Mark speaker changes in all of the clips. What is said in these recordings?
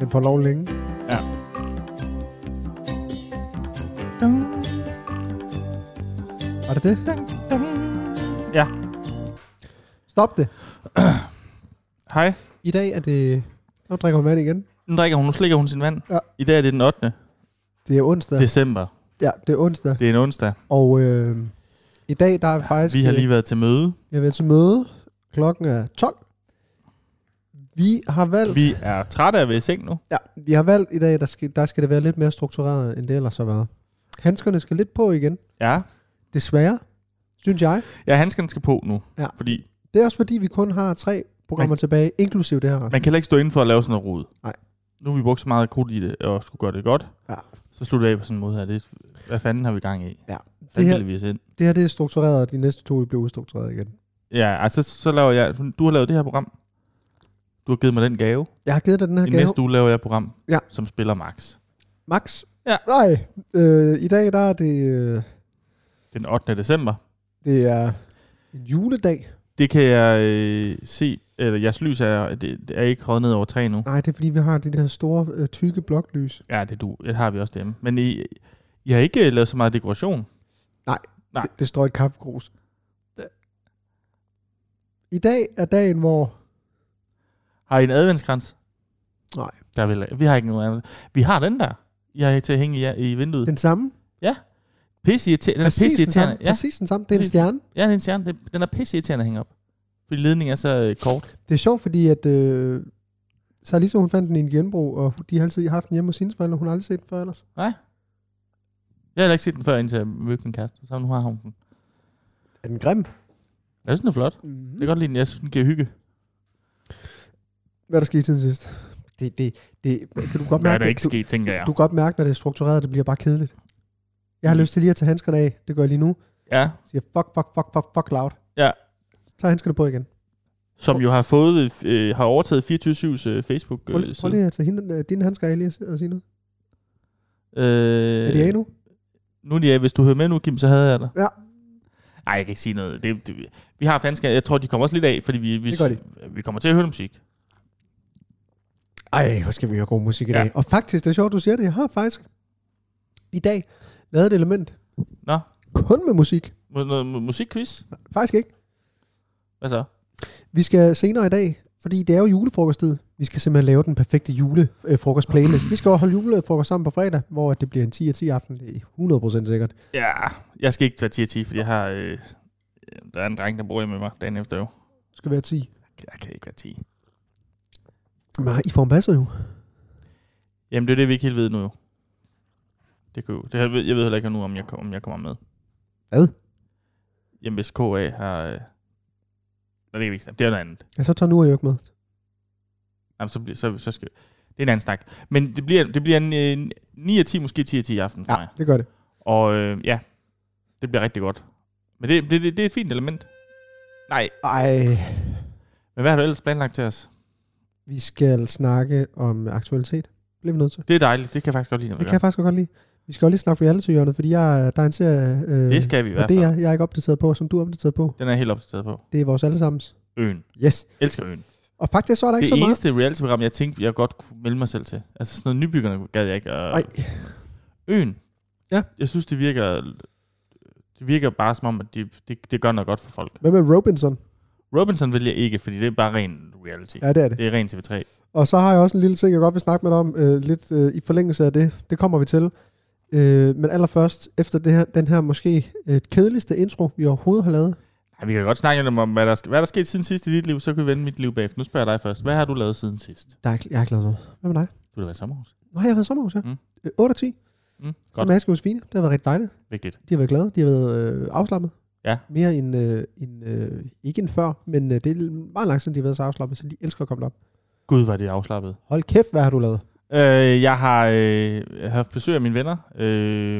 Speaker 1: Den får lov længe.
Speaker 2: Ja.
Speaker 1: Var det det?
Speaker 2: Ja.
Speaker 1: Stop det.
Speaker 2: Hej.
Speaker 1: I dag er det... Nu drikker hun vand igen.
Speaker 2: Nu drikker hun, nu slikker hun sin vand.
Speaker 1: Ja.
Speaker 2: I dag er det den 8.
Speaker 1: Det er onsdag. Det.
Speaker 2: december.
Speaker 1: Ja, det er onsdag.
Speaker 2: Det er en onsdag.
Speaker 1: Og øh, i dag, der er faktisk... øh,
Speaker 2: Vi har lige været til møde.
Speaker 1: Jeg vil til møde. Klokken er 12. Vi har valgt...
Speaker 2: Vi er trætte af at være i seng nu.
Speaker 1: Ja, vi har valgt i dag, der skal, der skal det være lidt mere struktureret, end det ellers har været. Handskerne skal lidt på igen.
Speaker 2: Ja.
Speaker 1: Desværre, synes jeg.
Speaker 2: Ja, handskerne skal på nu.
Speaker 1: Ja.
Speaker 2: Fordi
Speaker 1: Det er også fordi, vi kun har tre programmer
Speaker 2: Man-
Speaker 1: tilbage, inklusiv det her.
Speaker 2: man kan heller ikke stå inden for at lave sådan noget rod.
Speaker 1: Nej.
Speaker 2: Nu har vi brugt så meget krudt i det, og skulle gøre det godt.
Speaker 1: Ja.
Speaker 2: Så slutter jeg af på sådan en måde her. Det, er- hvad fanden har vi gang i?
Speaker 1: Ja.
Speaker 2: Det
Speaker 1: Det her,
Speaker 2: her... vi os ind.
Speaker 1: det her det er struktureret, og de næste to de bliver ustruktureret igen.
Speaker 2: Ja, altså så laver jeg... Du har lavet det her program. Du har givet mig den gave.
Speaker 1: Jeg har givet dig den her
Speaker 2: I
Speaker 1: gave.
Speaker 2: næste uge laver jeg et program,
Speaker 1: Ja.
Speaker 2: som spiller Max.
Speaker 1: Max?
Speaker 2: Ja.
Speaker 1: Nej, øh, i dag der er det, øh,
Speaker 2: Den 8. december.
Speaker 1: det er en juledag.
Speaker 2: Det kan jeg øh, se, eller jeres lys er, det, det er ikke røget ned over træ nu.
Speaker 1: Nej, det er fordi, vi har de der store, øh, tykke bloklys.
Speaker 2: Ja, det, du, det har vi også derhjemme. Men I, I har ikke øh, lavet så meget dekoration. Nej.
Speaker 1: Det, det står i et kaffekrus. I dag er dagen, hvor...
Speaker 2: Har I en adventskrans?
Speaker 1: Nej.
Speaker 2: Der vil, vi har ikke nogen andet. Vi har den der. I har til at hænge i, i vinduet. Den,
Speaker 1: Den samme.
Speaker 2: pisse irriterende. Den er pisse
Speaker 1: den samme.
Speaker 2: irriterende. Ja,
Speaker 1: Præcis den samme. Det er en
Speaker 2: Præcis.
Speaker 1: stjerne.
Speaker 2: ja, den, stjerne, den, den er pisse irriterende at hænge op. Fordi ledningen er så øh, kort.
Speaker 1: Det er sjovt, fordi at... Øh, så lige så hun fandt den i en genbrug, og de har altid haft den hjemme hos hendes forældre. Hun har aldrig set den før ellers.
Speaker 2: Jeg har heller ikke set den før, indtil jeg mødte min kæreste. Så nu har hun den.
Speaker 1: Er den grim?
Speaker 2: Jeg synes, den er flot.
Speaker 1: Mm-hmm.
Speaker 2: Jeg kan godt lide den. Jeg synes, den giver hygge.
Speaker 1: Hvad er der sket siden sidst? Det, det, det, kan du godt
Speaker 2: Hvad
Speaker 1: mærke,
Speaker 2: er der
Speaker 1: det?
Speaker 2: ikke
Speaker 1: du,
Speaker 2: sket, tænker jeg.
Speaker 1: du kan godt mærke, når det er struktureret, det bliver bare kedeligt. Jeg har
Speaker 2: Mm.
Speaker 1: lyst til lige at tage handskerne af. Det gør jeg lige nu.
Speaker 2: Ja,
Speaker 1: Jeg siger fuck, fuck, fuck, fuck, fuck loud.
Speaker 2: Ja.
Speaker 1: Tag handskerne på igen.
Speaker 2: som jo har fået øh, har overtaget 24-7's øh, Facebook
Speaker 1: Prøv, lige- prøv
Speaker 2: side.
Speaker 1: lige at tage hende, øh, dine handsker af lige og si- og sige noget.
Speaker 2: Øh,
Speaker 1: Er de af nu?
Speaker 2: Nu er de af. Hvis du hører med nu, Kim, så havde jeg dig.
Speaker 1: Ja.
Speaker 2: Nej, jeg kan ikke sige noget. Det, det, vi har fanskab. Jeg tror, de kommer også lidt af, fordi vi, vi,
Speaker 1: Det gør
Speaker 2: vi kommer til at høre musik.
Speaker 1: Ej, hvor skal vi høre god musik i
Speaker 2: Ja.
Speaker 1: dag. Og faktisk, det er sjovt, du siger det. Jeg har faktisk i dag lavet et element.
Speaker 2: Nå.
Speaker 1: Kun med musik.
Speaker 2: Mu- Noget mu- musikquiz?
Speaker 1: Faktisk ikke.
Speaker 2: Hvad så?
Speaker 1: Vi skal senere i dag, fordi det er jo julefrokosttid. Vi skal simpelthen lave den perfekte julefrokostplaylist. Vi skal jo holde julefrokost sammen på fredag, hvor det bliver en 10 af 10 aften. Det er 100% sikkert.
Speaker 2: Ja, jeg skal ikke være 10 10, fordi jeg har... Øh, der er en dreng, der bor hjemme med mig dagen efter. Jo.
Speaker 1: Det skal være 10.
Speaker 2: Jeg kan ikke være 10.
Speaker 1: Nej, I får en passer jo.
Speaker 2: Jamen, det er det, vi ikke helt ved nu. jo. Det kan jo. Det, her- jeg ved jeg ved heller ikke nu, om jeg, kom- om jeg kommer med.
Speaker 1: Hvad?
Speaker 2: Jamen, hvis KA har... Øh, Nå, det kan vi ikke snakke. Det er noget andet.
Speaker 1: Ja, så tager nu og ikke med.
Speaker 2: Jamen, så, bliver, så, så skal Det er en anden snak. Men det bliver, det bliver en, øh, 9 af 10, måske 10 af 10 i aften for ja. mig.
Speaker 1: det gør det.
Speaker 2: Og øh, ja, det bliver rigtig godt. Men det, det, det, det er et fint element. Nej,
Speaker 1: Ej,
Speaker 2: men hvad har du ellers planlagt til os?
Speaker 1: vi skal snakke om aktualitet. Bliver vi nødt til.
Speaker 2: Det er dejligt, det kan jeg faktisk godt lide, når vi
Speaker 1: Det kan
Speaker 2: gør.
Speaker 1: jeg faktisk godt lide. Vi skal også lige snakke reality-hjørnet, fordi jeg, der er en serie, øh,
Speaker 2: det skal vi i hvert
Speaker 1: og det
Speaker 2: fald.
Speaker 1: er jeg er ikke opdateret på, som du er opdateret på.
Speaker 2: Den er jeg helt opdateret på.
Speaker 1: Det er vores allesammens.
Speaker 2: Øen.
Speaker 1: Yes.
Speaker 2: Elsker øen.
Speaker 1: Og faktisk så er der ikke
Speaker 2: Det
Speaker 1: så meget.
Speaker 2: eneste reality-program, jeg tænkte, jeg godt kunne melde mig selv til. Altså sådan noget nybyggerne gad jeg ikke. Og
Speaker 1: Nej,
Speaker 2: Øen.
Speaker 1: Ja.
Speaker 2: Jeg synes, det virker... Det virker bare som om, at det, det, det gør noget godt for folk.
Speaker 1: hvad med Robinson?
Speaker 2: Robinson vil jeg ikke, fordi det er bare ren reality.
Speaker 1: Ja, det er det.
Speaker 2: Det er ren TV3.
Speaker 1: Og så har jeg også en lille ting, jeg godt vil snakke med dig om, øh, lidt øh, i forlængelse af det. Det kommer vi til. Øh, men allerførst, efter det her, den her måske øh, kedeligste intro, vi overhovedet har lavet.
Speaker 2: Ja, vi kan godt snakke lidt om, om, hvad der, sk- hvad der er sket siden sidst i dit liv, så kan vi vende mit liv bagefter. Nu spørger jeg dig først. Hvad har du lavet siden sidst?
Speaker 1: Der er, ikke- jeg har ikke lavet noget. Hvad med dig?
Speaker 2: Du har været i sommerhus.
Speaker 1: Nå, jeg har været i sommerhus, ja.
Speaker 2: Mm.
Speaker 1: Mm. 8 og 10.
Speaker 2: Mm,
Speaker 1: Som
Speaker 2: godt.
Speaker 1: med Aske og Josefine. Det har været rigtig dejligt.
Speaker 2: Vigtigt.
Speaker 1: De har været glade. De har været øh, afslappet.
Speaker 2: Ja.
Speaker 1: Mere end, øh, end øh, ikke end før, men øh, det er meget langt siden, de har været så afslappet, så de elsker at komme op.
Speaker 2: Gud, var det afslappet.
Speaker 1: Hold kæft, hvad har du lavet?
Speaker 2: Øh, jeg har øh, haft besøg af mine venner. Øh,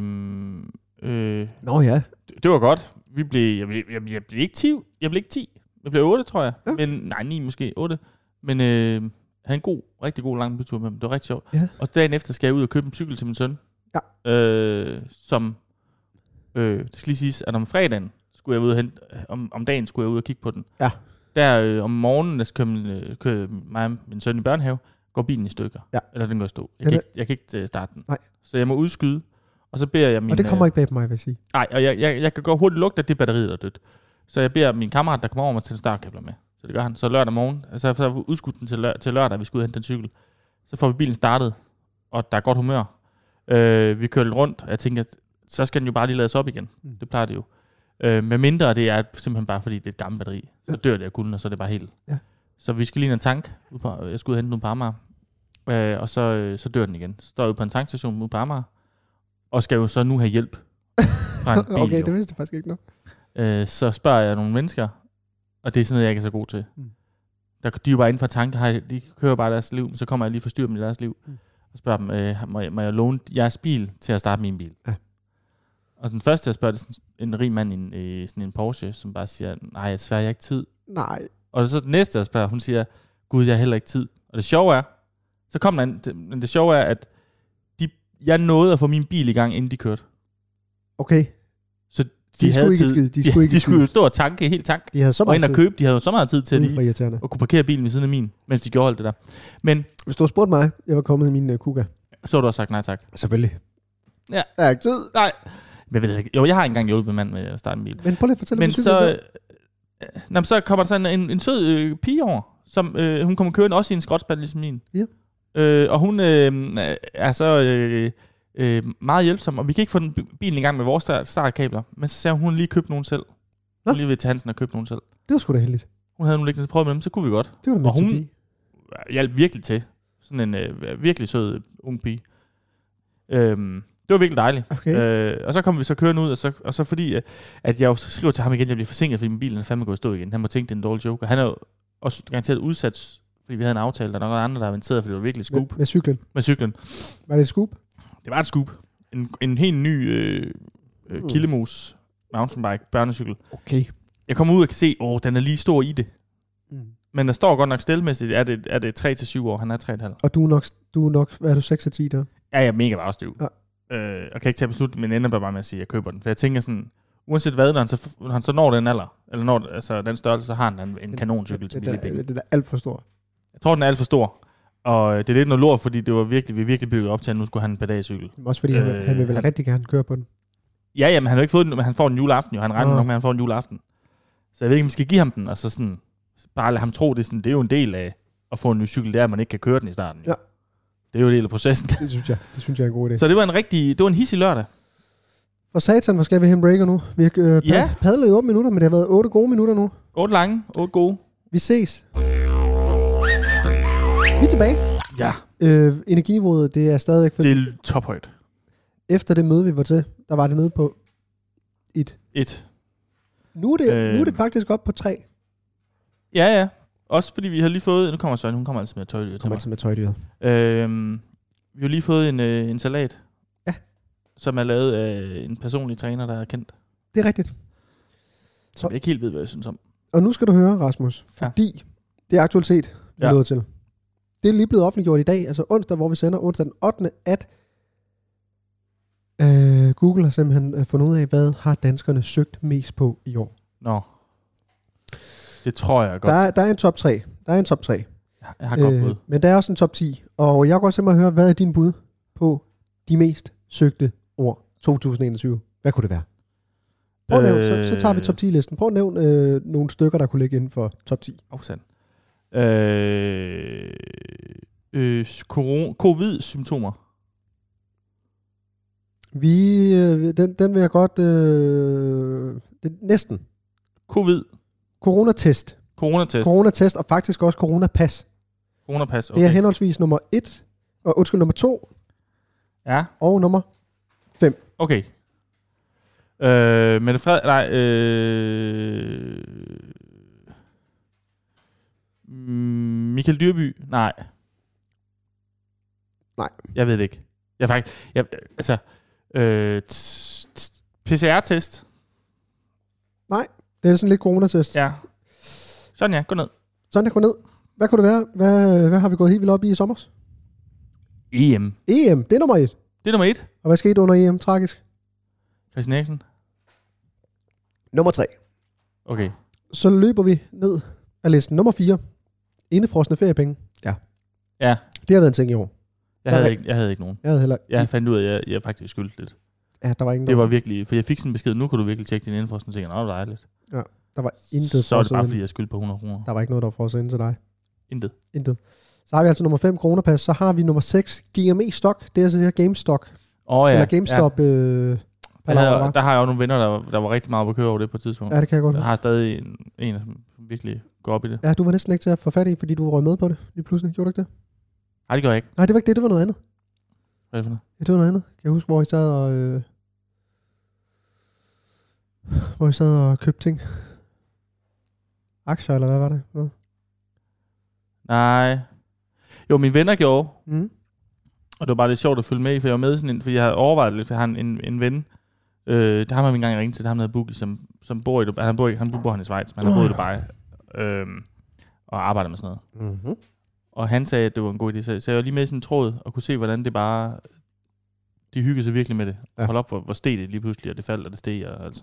Speaker 2: øh,
Speaker 1: Nå ja.
Speaker 2: det, det var godt. Vi blev, jeg, blev, jeg, jeg blev ikke 10. Jeg blev ikke 10. Jeg blev 8, tror jeg.
Speaker 1: Ja.
Speaker 2: Men, nej, 9 måske. 8. Men øh, havde en god, rigtig god lang bytur med dem. Det var rigtig sjovt.
Speaker 1: Ja.
Speaker 2: Og dagen efter skal jeg ud og købe en cykel til min søn. Ja. Øh, som, øh, det skal lige siges, at om fredagen skulle jeg ud og hente, øh, om, om dagen skulle jeg ud og kigge på den.
Speaker 1: Ja.
Speaker 2: Der øh, om morgenen, der kørte min, øh, kørte mig og min søn i børnehave, går bilen i stykker.
Speaker 1: Ja.
Speaker 2: Eller den går i stå. Jeg,
Speaker 1: Den
Speaker 2: kan
Speaker 1: er-
Speaker 2: ikke, jeg kan ikke øh, starte den.
Speaker 1: Nej.
Speaker 2: Så jeg må udskyde, og så beder jeg min... øh,
Speaker 1: Og det kommer ikke bag på mig, vil jeg sige.
Speaker 2: Nej, og jeg, jeg, jeg kan godt hurtigt lugte, at det batteri der er dødt. Så jeg beder min kammerat, der kommer over mig til en startkabler med. Så det gør han. Så lørdag morgen, altså så har vi udskudt den til, lør, til lørdag, vi skulle ud og hente den cykel. Så får vi bilen startet, og der er godt humør. Øh, vi kører lidt rundt, og jeg tænker, så skal den jo bare lige lades op igen.
Speaker 1: Mm.
Speaker 2: Det plejer det jo. Øh, med mindre det er simpelthen bare, fordi det er et gammelt batteri. Så dør det af kulden, og så er det bare helt.
Speaker 1: Ja.
Speaker 2: Så vi skal lige ind og tank. Ude på, jeg skulle ud og hente nogle på Amager. Øh, og så, øh, så dør den igen. Så står jeg ude på en tankstation ude på Amager, og skal jo så nu have hjælp fra en bil.
Speaker 1: okay,
Speaker 2: jo.
Speaker 1: det vidste jeg faktisk ikke noget.
Speaker 2: Øh, så spørger jeg nogle mennesker, og det er sådan noget, jeg ikke er så god til.
Speaker 1: Mm.
Speaker 2: Mm. Der, de er jo bare inden for tanke, hej, de kører bare deres liv, men så kommer jeg lige og forstyrrer dem i deres liv.
Speaker 1: Mm.
Speaker 2: Mm. Og spørger dem, øh, må, jeg, må jeg låne jeres bil til at starte min bil?
Speaker 1: Ja.
Speaker 2: Og den første, jeg spørger, det er sådan en rig mand i en, øh, sådan en Porsche, som bare siger, nej, jeg svær, jeg har ikke tid.
Speaker 1: Nej.
Speaker 2: Og så den næste, jeg spørger, hun siger, gud, jeg har heller ikke tid. Og det sjove er, så kom der en, det, men det sjove er, at de, jeg nåede at få min bil i gang, inden de kørte.
Speaker 1: Okay,
Speaker 2: Så de,
Speaker 1: de,
Speaker 2: havde
Speaker 1: skulle ikke
Speaker 2: tid.
Speaker 1: skide. De
Speaker 2: De,
Speaker 1: skulle ikke
Speaker 2: de skulle
Speaker 1: skide.
Speaker 2: jo stå og tanke, helt tank
Speaker 1: De havde så
Speaker 2: og
Speaker 1: meget
Speaker 2: ind og
Speaker 1: tid.
Speaker 2: købe. De havde jo så meget tid til at,
Speaker 1: Det er for
Speaker 2: lige,
Speaker 1: irriterende.
Speaker 2: at kunne parkere bilen ved siden af min, mens de gjorde alt det der. Men
Speaker 1: Hvis du havde spurgt mig, jeg var kommet i min uh, kuga.
Speaker 2: så har du også sagt nej tak.
Speaker 1: Selvfølgelig.
Speaker 2: Ja.
Speaker 1: Jeg har ikke tid.
Speaker 2: Nej. Men jeg ved det ikke. Jo, jeg har ikke engang hjulpet en mand med at starte en bil.
Speaker 1: Men prøv lige at fortælle
Speaker 2: Men
Speaker 1: mig, hvad cyklen
Speaker 2: så, øh, nå, men så kommer der sådan en, en sød øh, pige over, som øh, hun kommer kørende også i en skråtspand ligesom min.
Speaker 1: Ja.
Speaker 2: Øh, og hun øh, er så øh, øh, meget hjælpsom, og vi kan ikke få den bi- bilen i gang med vores start- startkabler. Men så sagde hun, hun lige købte nogen selv.
Speaker 1: Nå.
Speaker 2: Hun lige ved til Hansen og købte nogen selv.
Speaker 1: er? Det var sgu da heldigt.
Speaker 2: Hun havde nogle liggende, så prøvede med dem, så kunne vi godt.
Speaker 1: Det var da meant
Speaker 2: øh, Og
Speaker 1: to
Speaker 2: hun-
Speaker 1: be.
Speaker 2: hjalp virkelig til. Sådan en øh, virkelig sød øh, ung pige. Øhm, det var virkelig dejligt.
Speaker 1: Okay.
Speaker 2: Øh, og så kom vi så kørende ud, og så, og så fordi, øh, at jeg jo så skriver til ham igen, at jeg bliver forsinket, fordi min bil er fandme gået i stå igen. Han må tænke, det er en dårlig joke. Og han er jo også garanteret udsat, fordi vi havde en aftale, der er nok andre, der har venteret, fordi det var virkelig et
Speaker 1: Med,
Speaker 2: scoop
Speaker 1: med cyklen.
Speaker 2: med cyklen.
Speaker 1: Var det et scoop?
Speaker 2: Det var et scoop. En, en helt ny øh, øh,
Speaker 1: Mm.
Speaker 2: kildemos mountainbike børnecykel.
Speaker 1: Okay.
Speaker 2: Jeg kommer ud og kan se, åh, den er lige stor i det.
Speaker 1: Mm.
Speaker 2: Men der står godt nok stilmæssigt, er det, er det 3-7 år. Han er 3,5.
Speaker 1: Og du er nok, du er nok, hvad er du, 6 af 10 der?
Speaker 2: Ja, jeg er mega bagstøv. Ja. Øh, og kan ikke tage beslutning, men ender bare med at sige, at jeg køber den. For jeg tænker sådan, uanset hvad, når han så, når han så når den alder, eller når altså, den størrelse, så har han en, en kanoncykel til
Speaker 1: Det,
Speaker 2: billige penge.
Speaker 1: det, det, er alt for stor.
Speaker 2: Jeg tror, den er alt for stor. Og øh, det er lidt noget lort, fordi det var virkelig, vi virkelig bygget op til, at nu skulle han en pedalcykel.
Speaker 1: Også fordi han, vil-
Speaker 2: Øh,
Speaker 1: han vil vel
Speaker 2: han-
Speaker 1: rigtig gerne køre på den.
Speaker 2: Ja, jamen, han har jo ikke fået den, men han får den juleaften jo. Han regner
Speaker 1: Nå.
Speaker 2: nok med, at han får den juleaften. Så jeg ved ikke, om vi skal give ham den, og så sådan, bare lade ham tro, det er, sådan, det er jo en del af at få en ny cykel, det er, at man ikke kan køre den i starten. Jo.
Speaker 1: Ja.
Speaker 2: Det er jo en del af processen.
Speaker 1: Det synes jeg, det synes jeg er en god idé.
Speaker 2: så det var en rigtig, det var en hissig lørdag.
Speaker 1: For satan, hvor skal vi hen breaker nu? Vi har øh, pad-
Speaker 2: Ja.
Speaker 1: padlet i 8 minutter, men det har været 8 gode minutter nu.
Speaker 2: Otte lange, otte gode.
Speaker 1: Vi ses. Vi er tilbage.
Speaker 2: Ja.
Speaker 1: Øh, energiniveauet, det er stadigvæk... For...
Speaker 2: Det er tophøjt.
Speaker 1: Efter det møde, vi var til, der var det nede på et.
Speaker 2: Et.
Speaker 1: Nu er det, øh... nu er det
Speaker 2: Øh.
Speaker 1: faktisk op på tre.
Speaker 2: Ja, ja. Også fordi vi har lige fået... Nu kommer Søren, hun kommer altså med tøj til mig.
Speaker 1: med tøjdyret.
Speaker 2: Øhm, vi har lige fået en, øh, en salat.
Speaker 1: Ja.
Speaker 2: Som er lavet af en personlig træner, der er kendt.
Speaker 1: Det er rigtigt.
Speaker 2: Som jeg ikke helt ved, hvad jeg synes om.
Speaker 1: Og nu skal du høre, Rasmus,
Speaker 2: Ja.
Speaker 1: fordi det er aktualitet, vi er
Speaker 2: Ja.
Speaker 1: nået til. Det er lige blevet offentliggjort i dag, altså onsdag, hvor vi sender onsdag den 8. at øh, Google har simpelthen øh, fundet ud af, hvad har danskerne søgt mest på i år.
Speaker 2: Nå. Det tror jeg
Speaker 1: Der
Speaker 2: godt.
Speaker 1: er, der er en top 3. Der er en top 3.
Speaker 2: Jeg har godt bud.
Speaker 1: Øh, men der er også en top 10. Og jeg kunne godt tænke mig at høre, hvad er din bud på de mest søgte ord 2021? Hvad kunne det være? Prøv at nævne, så, så tager vi top 10-listen. Prøv at nævne øh, nogle stykker, der kunne ligge inden for top 10.
Speaker 2: Afsand. Øh, øh, corona, covid-symptomer.
Speaker 1: Vi, øh, den, den vil jeg godt... Øh, det, næsten.
Speaker 2: Covid.
Speaker 1: Coronatest.
Speaker 2: Coronatest.
Speaker 1: Coronatest og faktisk også coronapas.
Speaker 2: Coronapas.
Speaker 1: Okay. Det er
Speaker 2: Okay.
Speaker 1: henholdsvis nummer 1, og undskyld, nummer 2
Speaker 2: Ja.
Speaker 1: og nummer...
Speaker 2: Okay. Øh, Mette Fred... Nej, øh... Mm, Michael Dyrby? Nej.
Speaker 1: Nej.
Speaker 2: Jeg ved det ikke. Jeg er faktisk... Jeg, altså... Øh, t- t- PCR-test?
Speaker 1: Det er sådan lidt coronatest.
Speaker 2: Ja. Sådan ja, gå ned.
Speaker 1: Sådan, jeg går ned. Hvad kunne det være? Hvad, hvad har vi gået helt vildt op i i sommer?
Speaker 2: EM.
Speaker 1: EM, det er nummer 1.
Speaker 2: E Det er nummer et.
Speaker 1: Og hvad skete under EM? Tragisk.
Speaker 2: Christian Eriksen?
Speaker 1: Nummer 3.
Speaker 2: Okay.
Speaker 1: Så løber vi ned af listen. Nummer 4. Indefrosne feriepenge.
Speaker 2: Ja.
Speaker 1: Det har været en ting i år.
Speaker 2: Jeg havde, ikke, jeg havde ikke nogen.
Speaker 1: Jeg havde heller
Speaker 2: Jeg fandt ud af, at jeg, jeg faktisk skyldte lidt.
Speaker 1: ja, der var ingen, der,
Speaker 2: Det var virkelig, for jeg fik sådan en besked, nu kan du virkelig tjekke din indfrostning, og tænkte, nej, dejligt.
Speaker 1: der var intet
Speaker 2: så er det
Speaker 1: frosset
Speaker 2: bare,
Speaker 1: ind.
Speaker 2: fordi jeg skyldte på 100 kroner.
Speaker 1: Der var ikke noget, der var frosset ind til dig.
Speaker 2: Intet.
Speaker 1: Intet. Så har vi altså nummer 5, Coronapas. Så har vi nummer 6, GME Stock. Det er altså det her GameStock.
Speaker 2: Åh oh,
Speaker 1: Ja,
Speaker 2: ja.
Speaker 1: eller GameStop. Ja. Øh,
Speaker 2: Ja. Jeg
Speaker 1: palaver,
Speaker 2: havde,
Speaker 1: hva'?
Speaker 2: der har jeg også nogle venner, der, var- der var rigtig meget på køre over det på et tidspunkt.
Speaker 1: ja, det kan jeg godt
Speaker 2: Jeg
Speaker 1: huske.
Speaker 2: har stadig en, en som virkelig går op i det.
Speaker 1: Ja, du var næsten ikke til at få fat i, fordi du røg med på det lige pludselig. Gjorde du ikke det?
Speaker 2: Nej, det gør jeg ikke.
Speaker 1: Nej, det var ikke det. Det var noget andet.
Speaker 2: Hvad er det for noget?
Speaker 1: Ja, det var noget andet. Kan jeg huske, hvor I sad og... Øh, hvor I sad og købte ting. Aktier, eller hvad var det? Noget?
Speaker 2: Nej. Jo, mine venner gjorde,
Speaker 1: Mm.
Speaker 2: og det var bare lidt sjovt at følge med i, for jeg var med i sådan en, fordi jeg havde overvejet det lidt, for jeg har en, en, en ven, øh, det har man engang ringet til, det har noget Boogie, som, som bor i Dubai, han bor, ikke, han bor han i Schweiz, men han bor i Dubai, øh, og arbejder med sådan noget.
Speaker 1: Mm-hmm.
Speaker 2: Og han sagde, at det var en god idé. Så, så jeg var lige med i sådan en tråd og kunne se, hvordan det bare... De hyggede sig virkelig med det.
Speaker 1: Ja.
Speaker 2: Ja. Hold op, hvor, hvor steg det lige pludselig, og det faldt, og det steg. Og altså.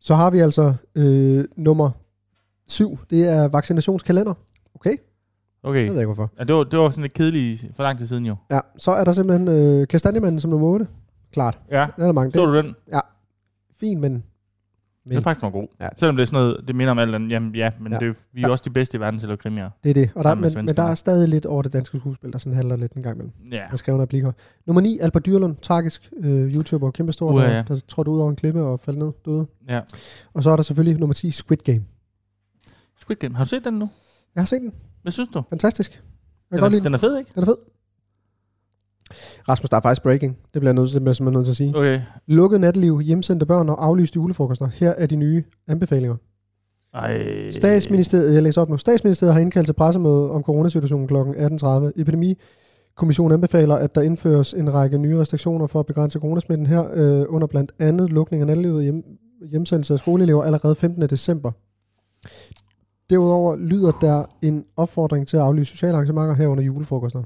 Speaker 1: Så har vi altså øh, nummer 7. Det er vaccinationskalender.
Speaker 2: Okay,
Speaker 1: Jeg ved ikke, hvorfor.
Speaker 2: ja, det, var, det var sådan lidt kedeligt for lang tid siden jo.
Speaker 1: Ja, så er der simpelthen øh, kastanjemanden som nummer 8. Klart,
Speaker 2: Ja,
Speaker 1: den er der mange.
Speaker 2: så
Speaker 1: Det
Speaker 2: du den? Men.
Speaker 1: er fint, men
Speaker 2: Den er faktisk meget god.
Speaker 1: Ja.
Speaker 2: Ja. Selvom det er sådan noget, det minder om alt andet. Jamen ja, men
Speaker 1: Ja.
Speaker 2: ja. Det, er jo- vi er
Speaker 1: Ja.
Speaker 2: ja. også de bedste i verden til at lave krimier.
Speaker 1: det er det. Og der,
Speaker 2: Sammen med
Speaker 1: men, men der er
Speaker 2: svenskerne.
Speaker 1: stadig lidt over det danske skuespil, der sådan handler lidt en gang imellem.
Speaker 2: Ja.
Speaker 1: Jeg skrev en replikker. Nummer 9, Albert Dyrlund, tragisk øh, YouTuber, kæmpestor,
Speaker 2: Uha,
Speaker 1: der,
Speaker 2: ja.
Speaker 1: der trådte ud over en klippe og faldt ned døde.
Speaker 2: ja.
Speaker 1: Og så er der selvfølgelig nummer 10, Squid Game.
Speaker 2: Squid Game, har du set den nu?
Speaker 1: Jeg har set den.
Speaker 2: Hvad synes du?
Speaker 1: Fantastisk. Jeg kan
Speaker 2: Den
Speaker 1: godt lide
Speaker 2: er,
Speaker 1: den.
Speaker 2: den er fed, ikke?
Speaker 1: Den er fed. Rasmus, der er faktisk breaking. Det bliver jeg nødt til, det bliver jeg simpelthen nødt til at sige.
Speaker 2: Okay.
Speaker 1: Lukket natteliv, hjemsendte børn og aflyste julefrokoster. Her er de nye anbefalinger.
Speaker 2: Ej.
Speaker 1: Statsministeriet, jeg læser op nu. Statsministeriet har indkaldt til pressemøde om coronasituationen kl. 18.30. Epidemikommissionen anbefaler, at der indføres en række nye restriktioner for at begrænse coronasmitten her, øh, under blandt andet lukning af nattelivet hjem, hjemsendelse af skoleelever allerede 15. december. Derudover lyder der en opfordring til at aflyse sociale arrangementer herunder julefrokoster.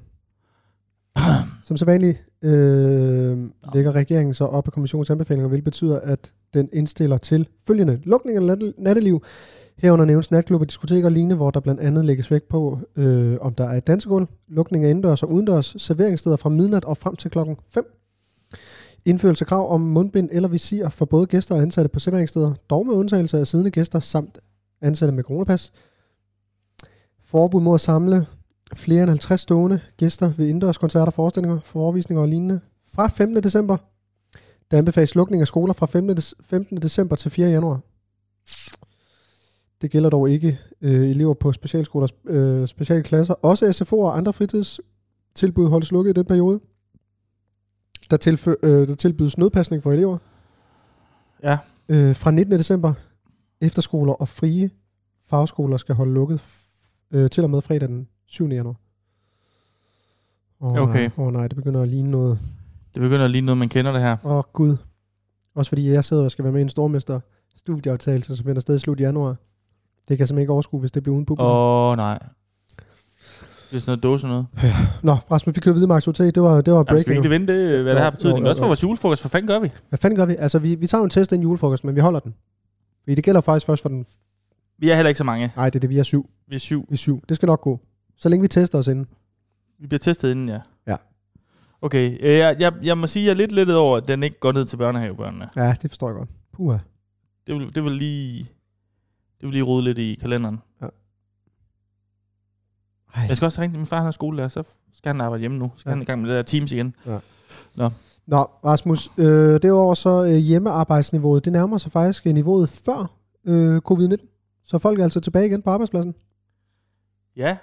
Speaker 1: Som sædvanligt øh, lægger regeringen så op af kommissionens anbefalinger, hvilket betyder, at den indstiller til følgende. Lukning af natte- natteliv, Herunder nævnes natklubber, diskoteker og lignende, hvor der blandt andet lægges vægt på, øh, om der er et dansegulv, lukning af indendørs og udendørs, serveringssteder fra midnat og frem til klokken 5. Indførelse af krav om mundbind eller visir for både gæster og ansatte på serveringssteder, dog med undtagelse af siddende gæster samt ansatte med coronapas. Forbud mod at samle flere end 50 stående gæster ved indendørs koncerter, forestillinger, forvisninger og lignende. Fra 15. december, der anbefales lukning af skoler fra 15. des- 15. december til 4. januar. Det gælder dog ikke øh, elever på specialskoler og øh, specialklasser. Også SFO'er og andre fritidstilbud holdes lukket i den periode. Der, tilfø- øh, der tilbydes nødpasning for elever.
Speaker 2: Ja.
Speaker 1: Øh, fra 19. december, efterskoler og frie fagskoler skal holde lukket f- øh, til og med fredag den 7. januar. Åh,
Speaker 2: Okay.
Speaker 1: Nej, åh nej, det begynder at ligne noget.
Speaker 2: Det begynder at ligne noget, man kender det her.
Speaker 1: Åh gud. Også fordi jeg sidder og skal være med i en stormester studieaftagelse, som finder sted i slut januar. Det kan jeg simpelthen ikke overskue, hvis det bliver uden publikum.
Speaker 2: Åh, oh, nej. Det er sådan noget dåse noget.
Speaker 1: Nå, Rasmus, vi kører videre med aktualitet. Det var, det var
Speaker 2: Jamen, skal
Speaker 1: breaking.
Speaker 2: vi ikke vente, øh, hvad
Speaker 1: Jo,
Speaker 2: det har
Speaker 1: jo,
Speaker 2: betydning?
Speaker 1: jo,
Speaker 2: Også for
Speaker 1: jo.
Speaker 2: vores julefrokost, hvad fanden gør vi?
Speaker 1: Hvad fanden gør vi? Altså, vi, vi tager jo en test af en julefrokost, men vi holder den. Fordi det gælder faktisk først for den...
Speaker 2: Vi er heller ikke så mange.
Speaker 1: Nej, det er det, vi er syv.
Speaker 2: Vi er syv.
Speaker 1: Vi er syv. Det skal nok gå. Så længe vi tester os inden.
Speaker 2: Vi bliver testet inden, ja.
Speaker 1: Ja.
Speaker 2: Okay, øh, jeg, jeg, jeg må sige, at jeg er lidt lidt over, at den ikke går ned til børnehavebørnene.
Speaker 1: Ja, det forstår jeg godt. Puha.
Speaker 2: Det vil, det vil lige... Det vil lige rode lidt i kalenderen.
Speaker 1: Ej.
Speaker 2: Jeg skal også ringe til min far, han er skolelærer, så skal han arbejde hjemme nu. Så skal
Speaker 1: Ja.
Speaker 2: ja. han i gang med det der Teams igen.
Speaker 1: Nå, Rasmus, øh, derudover så øh, hjemmearbejdsniveauet, det nærmer sig faktisk øh, niveauet før øh, covid-19. Så folk er altså tilbage igen på arbejdspladsen.
Speaker 2: Ja,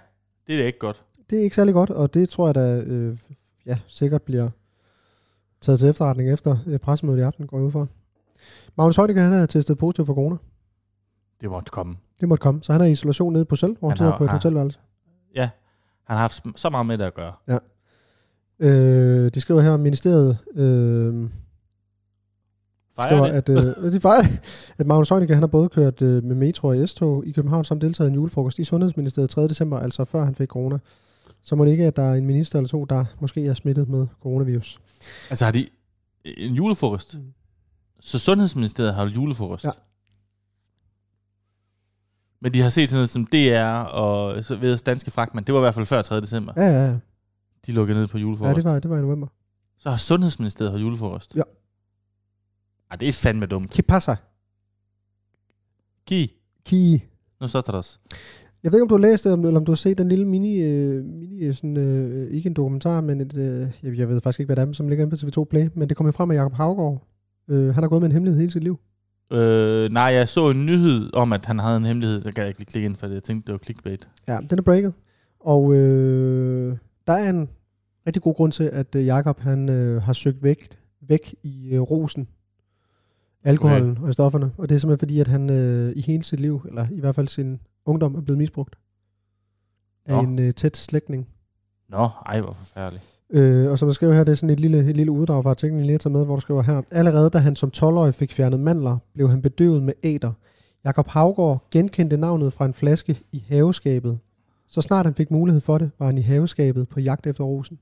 Speaker 2: det er da ikke godt.
Speaker 1: Det er ikke særlig godt, og det tror jeg da øh, ja, sikkert bliver taget til efterretning efter øh, pressemødet i aften, går jeg ud fra. Magnus Højdeke, han er testet positiv for corona.
Speaker 2: Det måtte komme.
Speaker 1: Det måtte komme. Så han er i isolation nede på selv, hvor han
Speaker 2: Han
Speaker 1: sidder
Speaker 2: har-
Speaker 1: på et
Speaker 2: har-
Speaker 1: hotelværelse.
Speaker 2: Han har haft sm- så meget med det at gøre.
Speaker 1: Øh, de skriver her, at ministeriet øh, skriver,
Speaker 2: Fejrer det?
Speaker 1: at, øh, de fejrer, det, at Magnus Heunicke, han har både kørt øh, med metro og S-tog i København, samt deltaget i en julefrokost i Sundhedsministeriet 3. december, altså før han fik corona. Så må det ikke, at der er en minister eller to, der måske er smittet med coronavirus.
Speaker 2: Altså har de en julefrokost?
Speaker 1: Mm.
Speaker 2: Så Sundhedsministeriet har julefrokost?
Speaker 1: Ja.
Speaker 2: Men de har set sådan noget som DR og så ved danske fragtmænd. Det var i hvert fald før 3. december.
Speaker 1: Ja, ja, ja.
Speaker 2: De lukkede ned på
Speaker 1: ja
Speaker 2: julefrokost.
Speaker 1: det, var, det var i november.
Speaker 2: Så har Sundhedsministeriet holdt julefrokost.
Speaker 1: Ja.
Speaker 2: Ej, det er fandme dumt.
Speaker 1: Que pasa?
Speaker 2: Gi,
Speaker 1: Ki.
Speaker 2: nu så tager os.
Speaker 1: Jeg ved ikke, om du har læst det, om- eller om du har set den lille mini, øh, mini øh, sådan, øh, ikke en dokumentar, men et, øh, jeg, jeg ved faktisk ikke, hvad det er, som ligger inde på TV2 Play, men det kom jo frem af Jacob Havgård. Øh, han har gået med en hemmelighed hele sit liv.
Speaker 2: Øh, nej, jeg så en nyhed om, at han havde en hemmelighed. Der kan jeg ikke lige klikke ind, for jeg tænkte, det var clickbait.
Speaker 1: Ja, den er breaket. Og øh, der er en rigtig god grund til, at øh, Jakob han øh, har søgt væk, væk i øh, rosen, alkoholen okay. og i stofferne. Og det er simpelthen fordi, at han øh, i hele sit liv, eller i hvert fald sin ungdom, er blevet misbrugt af
Speaker 2: Nå.
Speaker 1: en øh, tæt slægtning.
Speaker 2: Nå, ej, hvor forfærdeligt.
Speaker 1: Øh, og som jeg skriver her, det er sådan et lille, et lille uddrag fra artiklen, jeg lige har taget med, hvor du skriver her. Allerede da han som 12-årig fik fjernet mandler, blev han bedøvet med æder. Jakob Havgård genkendte navnet fra en flaske i haveskabet. Så snart han fik mulighed for det, var han i haveskabet på jagt efter rosen.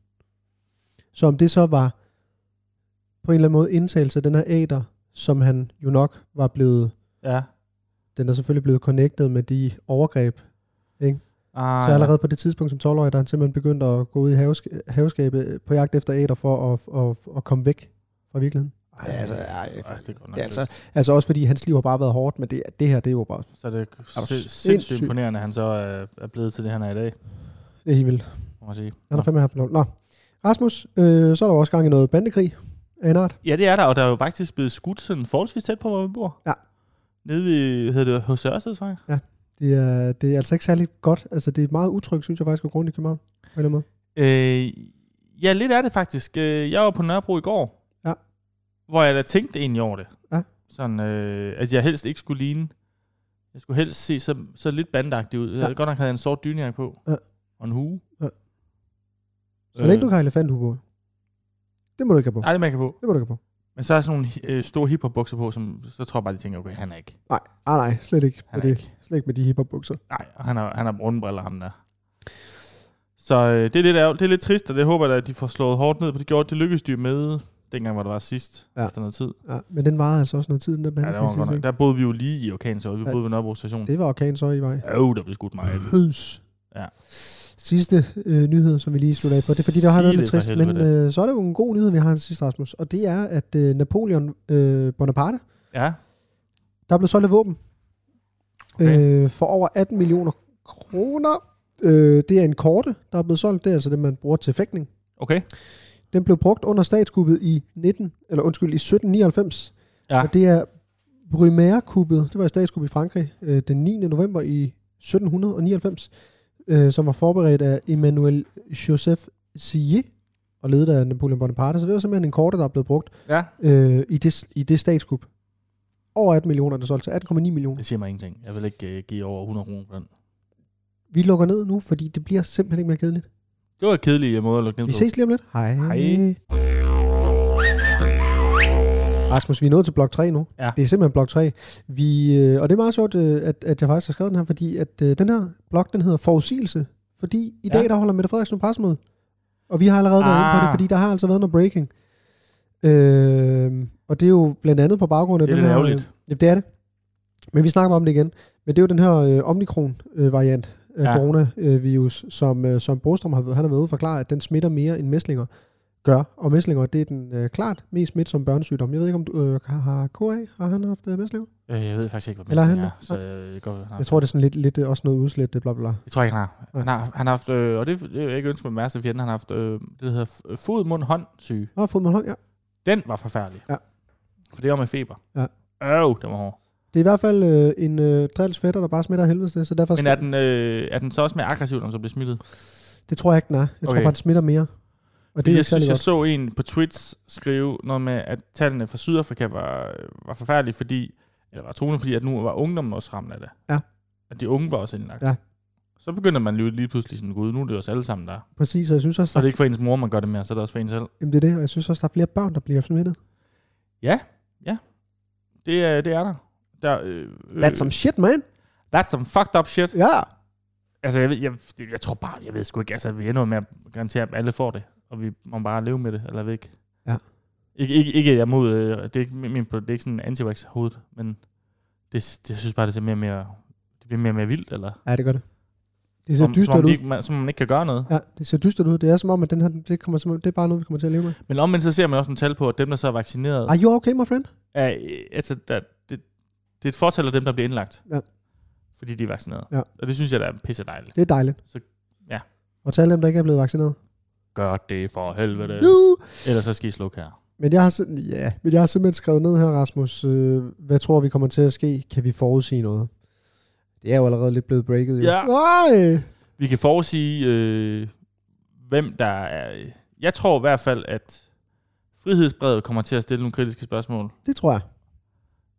Speaker 1: Så om det så var på en eller anden måde indtagelse af den her æder, som han jo nok var blevet,
Speaker 2: Ja.
Speaker 1: den er selvfølgelig blevet connected med de overgreb,
Speaker 2: Ah,
Speaker 1: så allerede på det tidspunkt som 12-årig, der er han simpelthen begyndt at gå ud i havesk- haveskabet øh, på jagt efter æder for at, at, at komme væk fra virkeligheden.
Speaker 2: Ej,
Speaker 1: Ja, altså,
Speaker 2: altså,
Speaker 1: ej,
Speaker 2: ej, det er godt nok
Speaker 1: det er altså-
Speaker 2: trist.
Speaker 1: Altså også fordi hans liv har bare været hårdt, men det, det her, det er jo bare
Speaker 2: Så det er
Speaker 1: du
Speaker 2: sin-
Speaker 1: sindssyg?
Speaker 2: sindssygt imponerende, at han så øh, er blevet til det, han er i dag,
Speaker 1: det er helt vildt.
Speaker 2: må man sige.
Speaker 1: Han
Speaker 2: Nå.
Speaker 1: har fandme haft lov. Nå, Rasmus, øh, så er der jo også gang i noget bandekrig af en art.
Speaker 2: Ja, det er der, og der er jo faktisk blevet skudt sådan forholdsvis tæt på, hvor vi bor.
Speaker 1: Ja.
Speaker 2: Nede ved, hedder det hos Ørsted, tror jeg.
Speaker 1: Det er, det er altså ikke særlig godt. Altså det er meget utrygt, synes jeg faktisk, at gå rundt i København. På en eller anden måde.
Speaker 2: Øh, ja, lidt er det faktisk. Øh, Jeg var på Nørrebro i går,
Speaker 1: Ja.
Speaker 2: hvor jeg da tænkte egentlig over det.
Speaker 1: Ja.
Speaker 2: Sådan, øh, at jeg helst ikke skulle ligne. Jeg skulle helst se så, så lidt bandagtig ud. Jeg
Speaker 1: Ja.
Speaker 2: havde godt nok havde jeg en sort dynejakke på,
Speaker 1: Ja.
Speaker 2: og en hue.
Speaker 1: Ja. Så længe du kan have elefanthue på. Det må du ikke have på.
Speaker 2: Øh. Nej, det man kan på.
Speaker 1: Det må du ikke have på.
Speaker 2: Men så er sådan nogle øh, store hiphop-bukser på, som så tror jeg bare, de tænker, okay, han er ikke.
Speaker 1: Nej, ah, nej, slet ikke.
Speaker 2: Han
Speaker 1: Med
Speaker 2: er
Speaker 1: det,
Speaker 2: ikke.
Speaker 1: slet ikke med de hiphopbukser.
Speaker 2: Nej, og han har, han har runde briller, ham der. Så øh, det, er lidt, ærgerligt. det er lidt trist, og det håber jeg da, at de får slået hårdt ned på. Det gjorde, det lykkedes de jo med, dengang hvor det var sidst,
Speaker 1: Ja.
Speaker 2: ja. efter noget tid.
Speaker 1: Ja, men den varede altså også noget tid, den der
Speaker 2: Ja, der,
Speaker 1: bandekrig.
Speaker 2: var
Speaker 1: synes
Speaker 2: godt
Speaker 1: jeg.
Speaker 2: nok. der boede vi jo lige i Orkansøj. Vi
Speaker 1: Ja.
Speaker 2: boede ved Nørrebro station.
Speaker 1: det var orkan så i vej.
Speaker 2: Jo, der blev skudt meget.
Speaker 1: Hus.
Speaker 2: Ja.
Speaker 1: Sidste øh, nyhed, som vi lige slutter af på, det er fordi, der har
Speaker 2: Sig
Speaker 1: været lidt
Speaker 2: det for
Speaker 1: trist, men øh, så er det jo en god nyhed, vi har til sidst, Rasmus, og det er, at øh, Napoleon øh, Bonaparte,
Speaker 2: Ja,
Speaker 1: der er blevet solgt et våben
Speaker 2: Okay.
Speaker 1: øh, for over 18 millioner kroner. Øh, det er en korte, der er blevet solgt, det er altså det, man bruger til fægtning.
Speaker 2: okay.
Speaker 1: Den blev brugt under statskuppet i 19, eller undskyld, i 1799.
Speaker 2: Ja.
Speaker 1: Og det er Brumaire-kuppet, det var et statskup i Frankrig, øh, den 9. november i 1799, øh, som var forberedt af Emmanuel Joseph Sillet og ledet af Napoleon Bonaparte. Så det var simpelthen en korte, der er blevet brugt
Speaker 2: Ja.
Speaker 1: øh, i, det, i det statskup. Over 18 millioner, der solgte til 18,9 millioner.
Speaker 2: Det siger mig ingenting. Jeg vil ikke uh, give over 100 kroner for den.
Speaker 1: Vi lukker ned nu, fordi det bliver simpelthen ikke mere kedeligt.
Speaker 2: Det var en kedelig øh, måde at lukke ned
Speaker 1: Vi
Speaker 2: på.
Speaker 1: ses lige om lidt. Hej.
Speaker 2: Hej.
Speaker 1: Rasmus, vi er nået til blok 3 nu.
Speaker 2: Ja.
Speaker 1: Det er simpelthen blok 3. Vi, øh, og det er meget sjovt, øh, at, at jeg faktisk har skrevet den her, fordi at øh, den her blok, den hedder forudsigelse. Fordi i
Speaker 2: Ja.
Speaker 1: dag, der holder Mette Frederiksen pressemøde. Og vi har allerede været inde på det,
Speaker 2: Ah.
Speaker 1: fordi der har altså været noget breaking. Øh, og det er jo blandt andet på baggrund af
Speaker 2: Det er
Speaker 1: den
Speaker 2: lidt
Speaker 1: her...
Speaker 2: ærgerligt.
Speaker 1: Ja, det er det. Men vi snakker om det igen. Men det er jo den her øh, omikron-variant af ja.
Speaker 2: Ja.
Speaker 1: coronavirus, som, øh, som Brostrøm har, han har været ude at forklare, at den smitter mere end mæslinger gør. Og mæslinger, det er den øh, klart mest smitsomme børnesygdom. Jeg ved ikke, om du øh, har, har KA, har han haft øh, mæslinger?
Speaker 2: Øh, jeg ved faktisk ikke, hvad
Speaker 1: Eller
Speaker 2: mæsling
Speaker 1: han-
Speaker 2: er. Så øh, det går, nej.
Speaker 1: Jeg tror, det er sådan lidt, lidt øh, også noget udslæt, det bla bla. bla.
Speaker 2: det tror jeg ikke, han har.
Speaker 1: Nej.
Speaker 2: Han har, han har haft, øh, og det, det er jeg ikke ønsket med Mærsa fjenden, han har haft, øh, det der hedder f- fod, mund, hånd syge.
Speaker 1: Nå, fod med hånd, ja.
Speaker 2: Den var forfærdelig.
Speaker 1: Ja.
Speaker 2: For det var med feber.
Speaker 1: Ja.
Speaker 2: Øv, den var hård.
Speaker 1: Det er i hvert fald øh, en øh, drils fætter, der bare smitter af helvede til, så derfor
Speaker 2: Men er den, øh, er den så også mere aggressiv, når den så bliver smittet?
Speaker 1: det tror jeg ikke, den er. Jeg okay. tror
Speaker 2: Okay.
Speaker 1: bare, den smitter mere. Og det er
Speaker 2: Fordi
Speaker 1: ikke
Speaker 2: jeg synes,
Speaker 1: særlig
Speaker 2: jeg
Speaker 1: godt.
Speaker 2: så en på Twitch skrive noget med, at tallene fra Sydafrika var, var forfærdelige, fordi, eller var truende, fordi at nu var ungdommen også ramt af det.
Speaker 1: Ja.
Speaker 2: At de unge var også indlagt.
Speaker 1: Ja.
Speaker 2: Så begynder man lige, lige pludselig sådan, gud, nu er det os alle sammen der. er."
Speaker 1: Præcis, og jeg synes også,
Speaker 2: Så er
Speaker 1: at,
Speaker 2: det ikke for ens mor, man gør det mere, så er det også for en selv.
Speaker 1: jamen, det er det, og jeg synes også, der er flere børn, der bliver smittet.
Speaker 2: Mm. Det, er, det er der. der øh, øh,
Speaker 1: That's some shit, man.
Speaker 2: that's some fucked up shit.
Speaker 1: Ja.
Speaker 2: Altså, jeg, ved- jeg, jeg, tror bare, jeg ved sgu ikke, altså, vi ender med at garantere, at alle får det, og vi må bare leve med det, eller væk.
Speaker 1: Ja.
Speaker 2: Ikke, ikke, ikke at jeg er mod, øh, det er ikke, min, min- det er ikke sådan anti hoved, men det, det, jeg synes bare, det ser mere og mere, det bliver mere og mere vildt, eller?
Speaker 1: Ja, det gør det. Det ser
Speaker 2: som, som,
Speaker 1: dystert
Speaker 2: om
Speaker 1: ud.
Speaker 2: de ikke, man, som om man ikke kan gøre noget.
Speaker 1: Ja, det ser dystert ud. Det er som om, at den her, det, kommer, som- det er bare noget, vi kommer til at leve med.
Speaker 2: Men omvendt så ser man også nogle tal på, at dem, der så er vaccineret,
Speaker 1: Are you okay, my friend?
Speaker 2: er, altså, der, det, det er et fortal af dem, der bliver indlagt.
Speaker 1: Ja.
Speaker 2: Fordi de er vaccineret.
Speaker 1: Ja.
Speaker 2: Og det synes jeg, der er pisse dejligt.
Speaker 1: Det er dejligt.
Speaker 2: Så- ja.
Speaker 1: Og til alle dem, der ikke er blevet vaccineret.
Speaker 2: Gør det for helvede.
Speaker 1: Nu!
Speaker 2: Ellers så skal I slukke her.
Speaker 1: Men jeg, har, sim- ja, men jeg har simpelthen skrevet ned her, Rasmus. Øh, hvad tror vi kommer til at ske? Kan vi forudsige noget? Det er jo allerede lidt blevet breaket. Jo.
Speaker 2: Ja.
Speaker 1: Nej!
Speaker 2: Vi kan forudsige, øh, hvem der er... Jeg tror i hvert fald, at frihedsbrevet kommer til at stille nogle kritiske spørgsmål.
Speaker 1: Det tror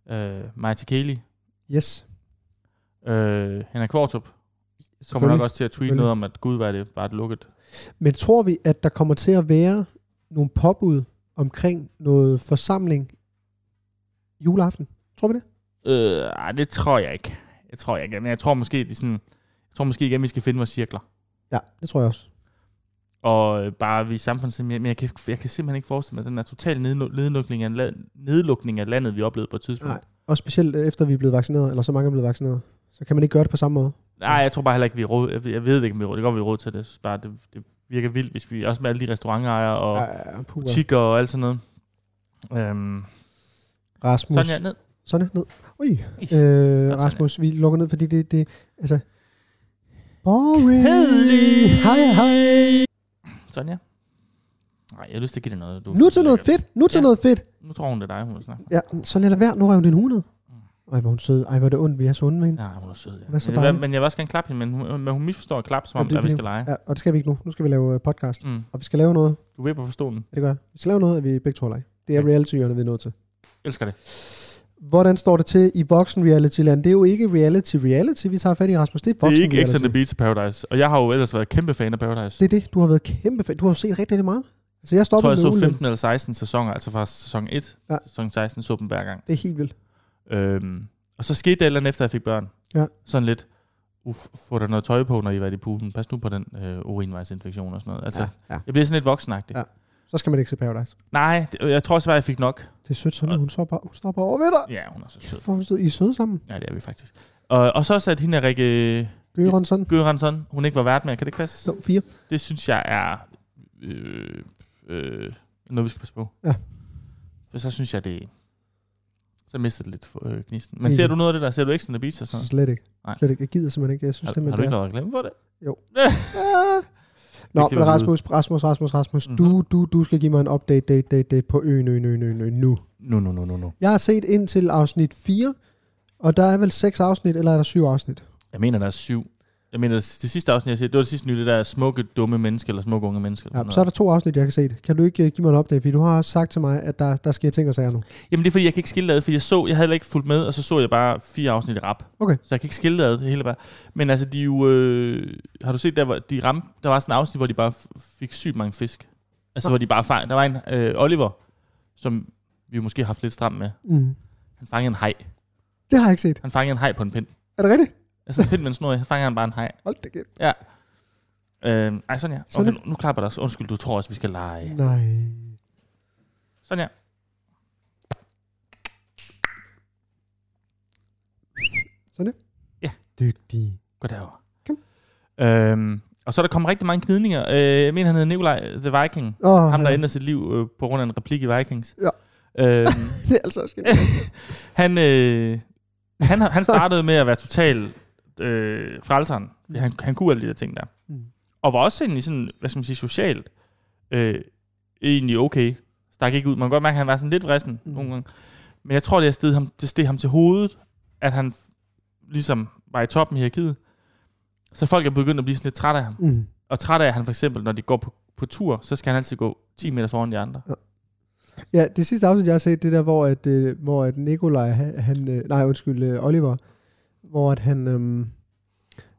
Speaker 1: jeg.
Speaker 2: Øh, Maja Tekeli,
Speaker 1: Yes.
Speaker 2: øh, Henrik Kvartrup, kommer
Speaker 1: selvfølgelig.
Speaker 2: nok også til at tweete
Speaker 1: Selvfølgelig.
Speaker 2: noget om, at gud, var det bare et lukket.
Speaker 1: Men tror vi, at der kommer til at være nogle påbud omkring noget forsamling juleaften? Tror vi det?
Speaker 2: Øh, ej, det tror jeg ikke. Jeg tror jeg ikke, men jeg tror måske, det er sådan, jeg tror måske igen, vi skal finde vores cirkler.
Speaker 1: Ja, det tror jeg også.
Speaker 2: Og øh, bare vi samfundssind, men jeg, men jeg, kan, jeg kan simpelthen ikke forestille mig den der totale nedlu- nedlukning af, la- nedlukning af landet, vi oplevede på et tidspunkt.
Speaker 1: Nej. Og specielt øh, efter vi er blevet vaccineret, eller så mange er blevet vaccineret, så kan man ikke gøre det på samme måde.
Speaker 2: Nej, jeg tror bare heller ikke, vi er råd. Jeg, jeg ved ikke, om vi er råd. Det går, vi er råd til det. Jeg synes Bare, det, det virker vildt, hvis vi også med alle de restaurantejere og ja,
Speaker 1: ja, puha.
Speaker 2: butikker og alt sådan noget. Øhm,
Speaker 1: Rasmus.
Speaker 2: sådan jeg ned.
Speaker 1: Sådan ned. Ui.
Speaker 2: Is.
Speaker 1: Øh,
Speaker 2: Sådan
Speaker 1: Rasmus, vi lukker ned, fordi det, det altså... Boring.
Speaker 2: Kedelig.
Speaker 1: Hej, hej.
Speaker 2: Sådan ja. Nej, jeg har lyst til at give det noget. Du,
Speaker 1: Nu til noget fedt. Nu til
Speaker 2: Ja.
Speaker 1: noget fedt.
Speaker 2: Nu tror hun, det er dig, hun vil snakke. med.
Speaker 1: Ja, så lad det være. Nu rev din hue ned. Ej, hvor er hun sød. Ej, hvor er det ondt. Vi er så onde med hende.
Speaker 2: Mm. Ja, hun er sød. Ja.
Speaker 1: Hun er så
Speaker 2: men, jeg,
Speaker 1: dejlig.
Speaker 2: men jeg vil også gerne klappe hende, men hun, men hun misforstår at klappe, som
Speaker 1: Jamen,
Speaker 2: om,
Speaker 1: det er
Speaker 2: at vi
Speaker 1: fordi-
Speaker 2: skal lege.
Speaker 1: Ja, og det skal vi ikke nu. Nu skal vi lave øh, podcast.
Speaker 2: Mm.
Speaker 1: Og vi skal lave noget.
Speaker 2: Du vipper på stolen.
Speaker 1: Ja, det gør jeg. Vi skal lave noget, at vi begge to er lege. Det er
Speaker 2: Ja.
Speaker 1: reality, vi er nødt til.
Speaker 2: Elsker det.
Speaker 1: Hvordan står det til i voksen reality land? Det er jo ikke reality reality, vi tager fat i, Rasmus. Det er
Speaker 2: Det
Speaker 1: voksen
Speaker 2: er ikke X
Speaker 1: reality.
Speaker 2: on the Beach til Paradise, og jeg har jo ellers været kæmpe fan af Paradise.
Speaker 1: Det er det. Du har været kæmpe fan. Du har jo set rigtig, rigtig meget. Altså, jeg
Speaker 2: jeg tror,
Speaker 1: stoppede
Speaker 2: jeg så
Speaker 1: med Ulven.
Speaker 2: 15 eller 16 sæsoner, altså fra sæson 1
Speaker 1: Ja.
Speaker 2: ja. sæson 16, så dem hver gang.
Speaker 1: Det er helt vildt.
Speaker 2: Øhm, og så skete det et eller andet, efter jeg fik børn.
Speaker 1: Ja.
Speaker 2: Sådan lidt, uff, få der noget tøj på, når I var i poolen. Pas nu på den øh, urinvejsinfektion og sådan noget. Altså, ja.
Speaker 1: ja.
Speaker 2: jeg bliver sådan lidt voksenagtig.
Speaker 1: Ja.
Speaker 2: Ja.
Speaker 1: Så skal man ikke se Paradise.
Speaker 2: Nej, det, øh, jeg tror også bare, jeg fik nok.
Speaker 1: Det er sødt sådan, at hun står bare, hun står bare over ved dig.
Speaker 2: Ja, hun er så sød.
Speaker 1: For hun sidder- I er søde sammen.
Speaker 2: Ja, det er vi faktisk. Og, og så også, at hende er Rikke
Speaker 1: Gøren sådan.
Speaker 2: Gøransson, hun ikke var vært med. Kan det ikke passe?
Speaker 1: No, fire.
Speaker 2: Det synes jeg er øh, øh, noget, vi skal passe på.
Speaker 1: Ja.
Speaker 2: For så synes jeg, det så mister det lidt for, øh, gnisten. Men
Speaker 1: Enig.
Speaker 2: ser du noget af det der? Ser du Exxon Beach og sådan noget?
Speaker 1: Slet ikke.
Speaker 2: Nej.
Speaker 1: Slet ikke. Jeg gider simpelthen ikke. Jeg synes
Speaker 2: Har,
Speaker 1: simpelthen,
Speaker 2: har du
Speaker 1: det
Speaker 2: ikke
Speaker 1: er...
Speaker 2: lavet reklame for det?
Speaker 1: Ah. Nå,
Speaker 2: Ikke til
Speaker 1: men
Speaker 2: at vide.
Speaker 1: Rasmus, Rasmus, Rasmus, Rasmus.
Speaker 2: Mhm.
Speaker 1: Du, du, du skal give mig en update, date, date, date på øen, øen, øen, øen, øen, nu.
Speaker 2: Nu, nu, nu, nu, nu.
Speaker 1: Jeg har set ind til afsnit 4, og der er vel 6 afsnit, eller er der 7 afsnit?
Speaker 2: Jeg mener, der er syv. Jeg mener, det det sidste afsnit, jeg set, det var det sidste nye, det der smukke, dumme menneske, eller smukke unge menneske.
Speaker 1: Ja,
Speaker 2: Eller
Speaker 1: så
Speaker 2: sådan
Speaker 1: er
Speaker 2: noget.
Speaker 1: der to afsnit, jeg kan se det. Kan du ikke øh, give mig en update? Fordi du har også sagt til mig, at der, der sker ting og sager nu.
Speaker 2: Jamen, det er fordi, jeg kan ikke skille det ad, fordi jeg så, jeg havde heller ikke fulgt med, og så så jeg bare fire afsnit i rap.
Speaker 1: Okay.
Speaker 2: Så jeg kan ikke skille det ad, det hele bare. Men altså, de er jo, øh, har du set, der, hvor de ramte, der var sådan en afsnit, hvor de bare f- fik sygt mange fisk. Altså, hvor de bare fang, der var en, øh, Oliver, som vi jo måske har haft lidt stramt med.
Speaker 1: Mm.
Speaker 2: Han fangede en hej.
Speaker 1: Det har jeg ikke set.
Speaker 2: Han fangede en hej på en pind.
Speaker 1: Er det rigtigt?
Speaker 2: Altså en pind med en snor, i, så fangede han bare en hej.
Speaker 1: Hold da kæft.
Speaker 2: Ja. Øh, ej, Sonja. Okay,
Speaker 1: Sonja.
Speaker 2: nu, nu klapper der også. Undskyld, du tror også, vi skal lege.
Speaker 1: Nej.
Speaker 2: Sonja.
Speaker 1: Dygtig.
Speaker 2: Gå derover.
Speaker 1: Kom.
Speaker 2: Øhm, og så er der kommet rigtig mange knidninger. Øh, jeg mener, han hedder Nikolaj The Viking.
Speaker 1: Oh,
Speaker 2: Ham, der ændrede sit liv øh, på grund af en replik i Vikings.
Speaker 1: Ja.
Speaker 2: Øhm,
Speaker 1: Det er altså også
Speaker 2: han, øh, han, har- han startede med at være total øh, frelseren. Fordi Han, han kunne alle de der ting der.
Speaker 1: Mm.
Speaker 2: Og var også egentlig sådan, hvad skal man sige, socialt øh, egentlig okay. Stak ikke ud. Man kan godt mærke, at han var sådan lidt vrissen
Speaker 1: Mm.
Speaker 2: mm. nogle gange. Men jeg tror, det er stedet ham, det steg ham til hovedet, at han ligesom var i toppen i hierarkiet. Så folk er begyndt at blive sådan lidt trætte af ham.
Speaker 1: Mm.
Speaker 2: Og trætte af, at han for eksempel, når de går på, på tur, så skal han altid gå 10 meter foran de andre.
Speaker 1: Ja, det sidste afsnit, jeg har set, det der, hvor, at, øh, hvor at Nikolaj, han, han, øh, nej undskyld, øh, Oliver, hvor at han, øhm,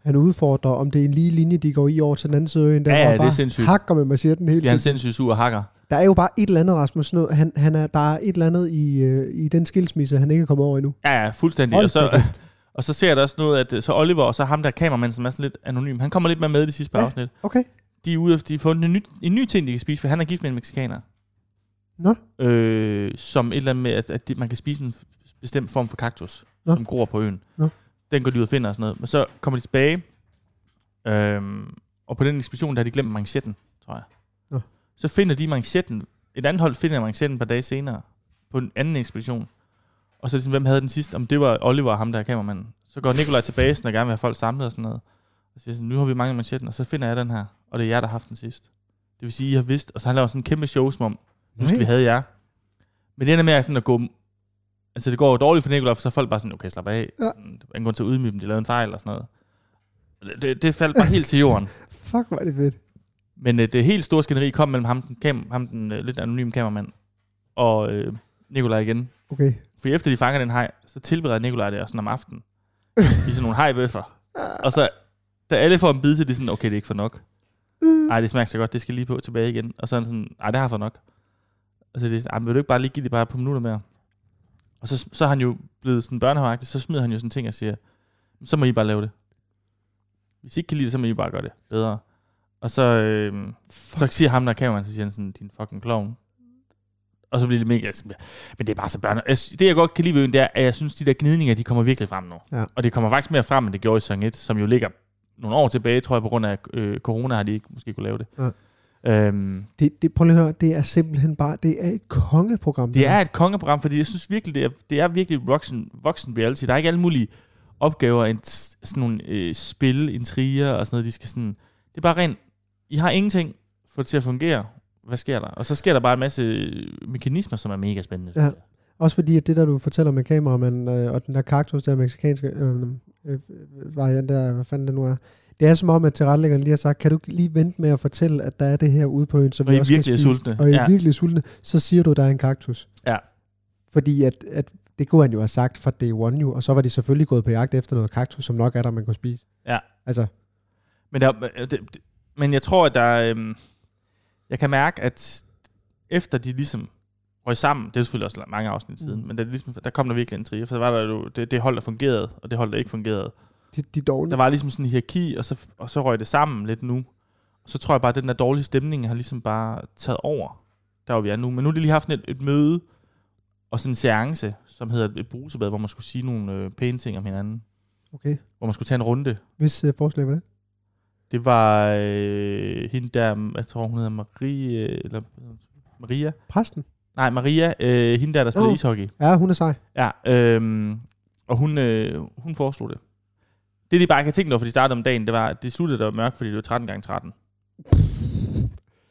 Speaker 1: han udfordrer, om det er en lige linje, de går i over til den anden side af øen. Der,
Speaker 2: Ja,
Speaker 1: hvor
Speaker 2: ja,
Speaker 1: han
Speaker 2: det er
Speaker 1: bare
Speaker 2: sindssygt.
Speaker 1: Hakker med machetten hele
Speaker 2: Bliver han
Speaker 1: tiden.
Speaker 2: sindssygt sur og hakker.
Speaker 1: Der er jo bare et eller andet, Rasmus Snød. Han, han er, der er et eller andet i, øh, i den skilsmisse, han ikke er kommet over endnu.
Speaker 2: Ja, ja, fuldstændig.
Speaker 1: Hold
Speaker 2: og,
Speaker 1: da
Speaker 2: så, og så ser jeg da også noget, at øh, så Oliver og så ham der kameramand, som er sådan lidt anonym, han kommer lidt mere med i de sidste par
Speaker 1: Ja.
Speaker 2: ja. afsnit.
Speaker 1: Okay.
Speaker 2: De er ude efter, de har fundet en ny, en ny ting, de kan spise, for han er gift med en mexikaner.
Speaker 1: Nå.
Speaker 2: Øh, som et eller andet med, at, at de, man kan spise en f- bestemt form for kaktus,
Speaker 1: Nå.
Speaker 2: som gror på øen.
Speaker 1: Nå.
Speaker 2: Den går de ud og finder og sådan noget. Men så kommer de tilbage, øhm, og på den ekspedition, der har de glemt manchetten, tror jeg.
Speaker 1: Nå.
Speaker 2: Så finder de manchetten. Et andet hold finder manchetten et par dage senere, på en anden ekspedition. Og så ligesom, hvem havde den sidste? Om det var Oliver, ham der er kameramanden. Så går Nikolaj tilbage, sådan, og gerne vil have folk samlet og sådan noget. Og siger sådan, nu har vi mange manchetten, og så finder jeg den her. Og det er jer, der har haft den sidst. Det vil sige, I har vidst. Og så han laver sådan en kæmpe show, som om, husk, vi
Speaker 1: Nej.
Speaker 2: havde jer. Men det ender med at sådan at gå... Altså, det går jo dårligt for Nikolaj, for så er folk bare sådan, okay, slap af.
Speaker 1: Ja.
Speaker 2: Ja. En grund til at ydmyge dem, de lavede en fejl og sådan noget. Det, det, det faldt bare helt til jorden.
Speaker 1: Fuck, hvor er det fedt.
Speaker 2: Men øh, det helt store skænderi kom mellem ham, den, kam- ham, den øh, lidt anonyme kameramand, og øh, Nikolaj igen.
Speaker 1: Okay.
Speaker 2: For efter de fanger den hej, så tilbereder Nikolaj det og sådan om aftenen. I sådan nogle hejbøffer. Ligesom-
Speaker 1: Ah.
Speaker 2: Og så, da alle får en bid til, det er sådan, okay, det er ikke for nok. Ej, det smager så godt, det skal lige på tilbage igen. Og så er han sådan, ej, det har jeg for nok. Altså, det er, sådan, ej, men vil du ikke bare lige give det bare på minutter mere? Og så, så er han jo blevet sådan børnehavagtig, så smider han jo sådan ting og siger, så må I bare lave det. Hvis I ikke kan lide det, så må I bare gøre det bedre. Og så, øh, så siger ham, der kan så siger han sådan, din fucking clown. Og så bliver det mega, sådan, men det er bare så børne. Jeg sy- Det jeg godt kan lide ved øen, det er, at jeg synes, de der gnidninger, de kommer virkelig frem nu.
Speaker 1: Ja.
Speaker 2: Og det kommer faktisk mere frem, end det gjorde i sæson 1, som jo ligger nogle år tilbage, tror jeg, på grund af øh, corona har de ikke måske kunne lave det. Ja. Øhm,
Speaker 1: Det, det, prøv lige at høre, det er simpelthen bare, det er et kongeprogram.
Speaker 2: det
Speaker 1: her.
Speaker 2: er et kongeprogram, fordi jeg synes virkelig, det er, det er virkelig voksen, voksen reality. Der er ikke alle mulige opgaver, en, sådan nogle øh, spil, intriger og sådan noget, de skal sådan... Det er bare rent... I har ingenting for det til at fungere. Hvad sker der? Og så sker der bare en masse øh, mekanismer, som er mega spændende.
Speaker 1: Ja. Også fordi, at det der, du fortæller med kameramanden øh, og den der kaktus, der meksikanske øh, øh, variant der, hvad fanden det nu er. Det er som om, at tilrettelæggeren lige har sagt, kan du ikke lige vente med at fortælle, at der er det her ude på øen, som
Speaker 2: Og
Speaker 1: vi
Speaker 2: I
Speaker 1: også skal
Speaker 2: virkelig er
Speaker 1: spise,
Speaker 2: sultne.
Speaker 1: Og I er
Speaker 2: Ja.
Speaker 1: virkelig sultne, så siger du, at der er en kaktus.
Speaker 2: Ja.
Speaker 1: Fordi at, at det kunne han jo have sagt fra day one jo, og så var de selvfølgelig gået på jagt efter noget kaktus, som nok er der, man kunne spise.
Speaker 2: Ja.
Speaker 1: Altså,
Speaker 2: Men, der, øh, det, det- men jeg tror, at der... Øhm, jeg kan mærke, at efter de ligesom røg sammen, det er selvfølgelig også mange afsnit siden,
Speaker 1: Mm.
Speaker 2: mm. men der, ligesom, der kom der virkelig en trier, for der var der jo det, det hold, der fungerede, og det hold, der ikke fungerede.
Speaker 1: de, de dårlige.
Speaker 2: Der var ligesom sådan en hierarki, og så, og så røg det sammen lidt nu. Og så tror jeg bare, at den der dårlige stemning har ligesom bare taget over, der hvor vi er nu. Men nu har de lige haft et, et møde og sådan en seance, som hedder et brusebad, hvor man skulle sige nogle øh, pæne ting om hinanden.
Speaker 1: Okay.
Speaker 2: Hvor man skulle tage en runde.
Speaker 1: Hvis øh, forslag var det?
Speaker 2: Det var øh, hende der, jeg tror hun hedder Marie, øh, eller Maria?
Speaker 1: Præsten?
Speaker 2: Nej, Maria, øh, hende der, der spiller
Speaker 1: Nå.
Speaker 2: oh. ishockey.
Speaker 1: Ja, hun er sej.
Speaker 2: Ja, øhm, og hun, øh, hun foreslog det. Det, de bare ikke har tænkt over, for de startede om dagen, det var, at det sluttede der var mørkt, fordi det var 13 gange 13.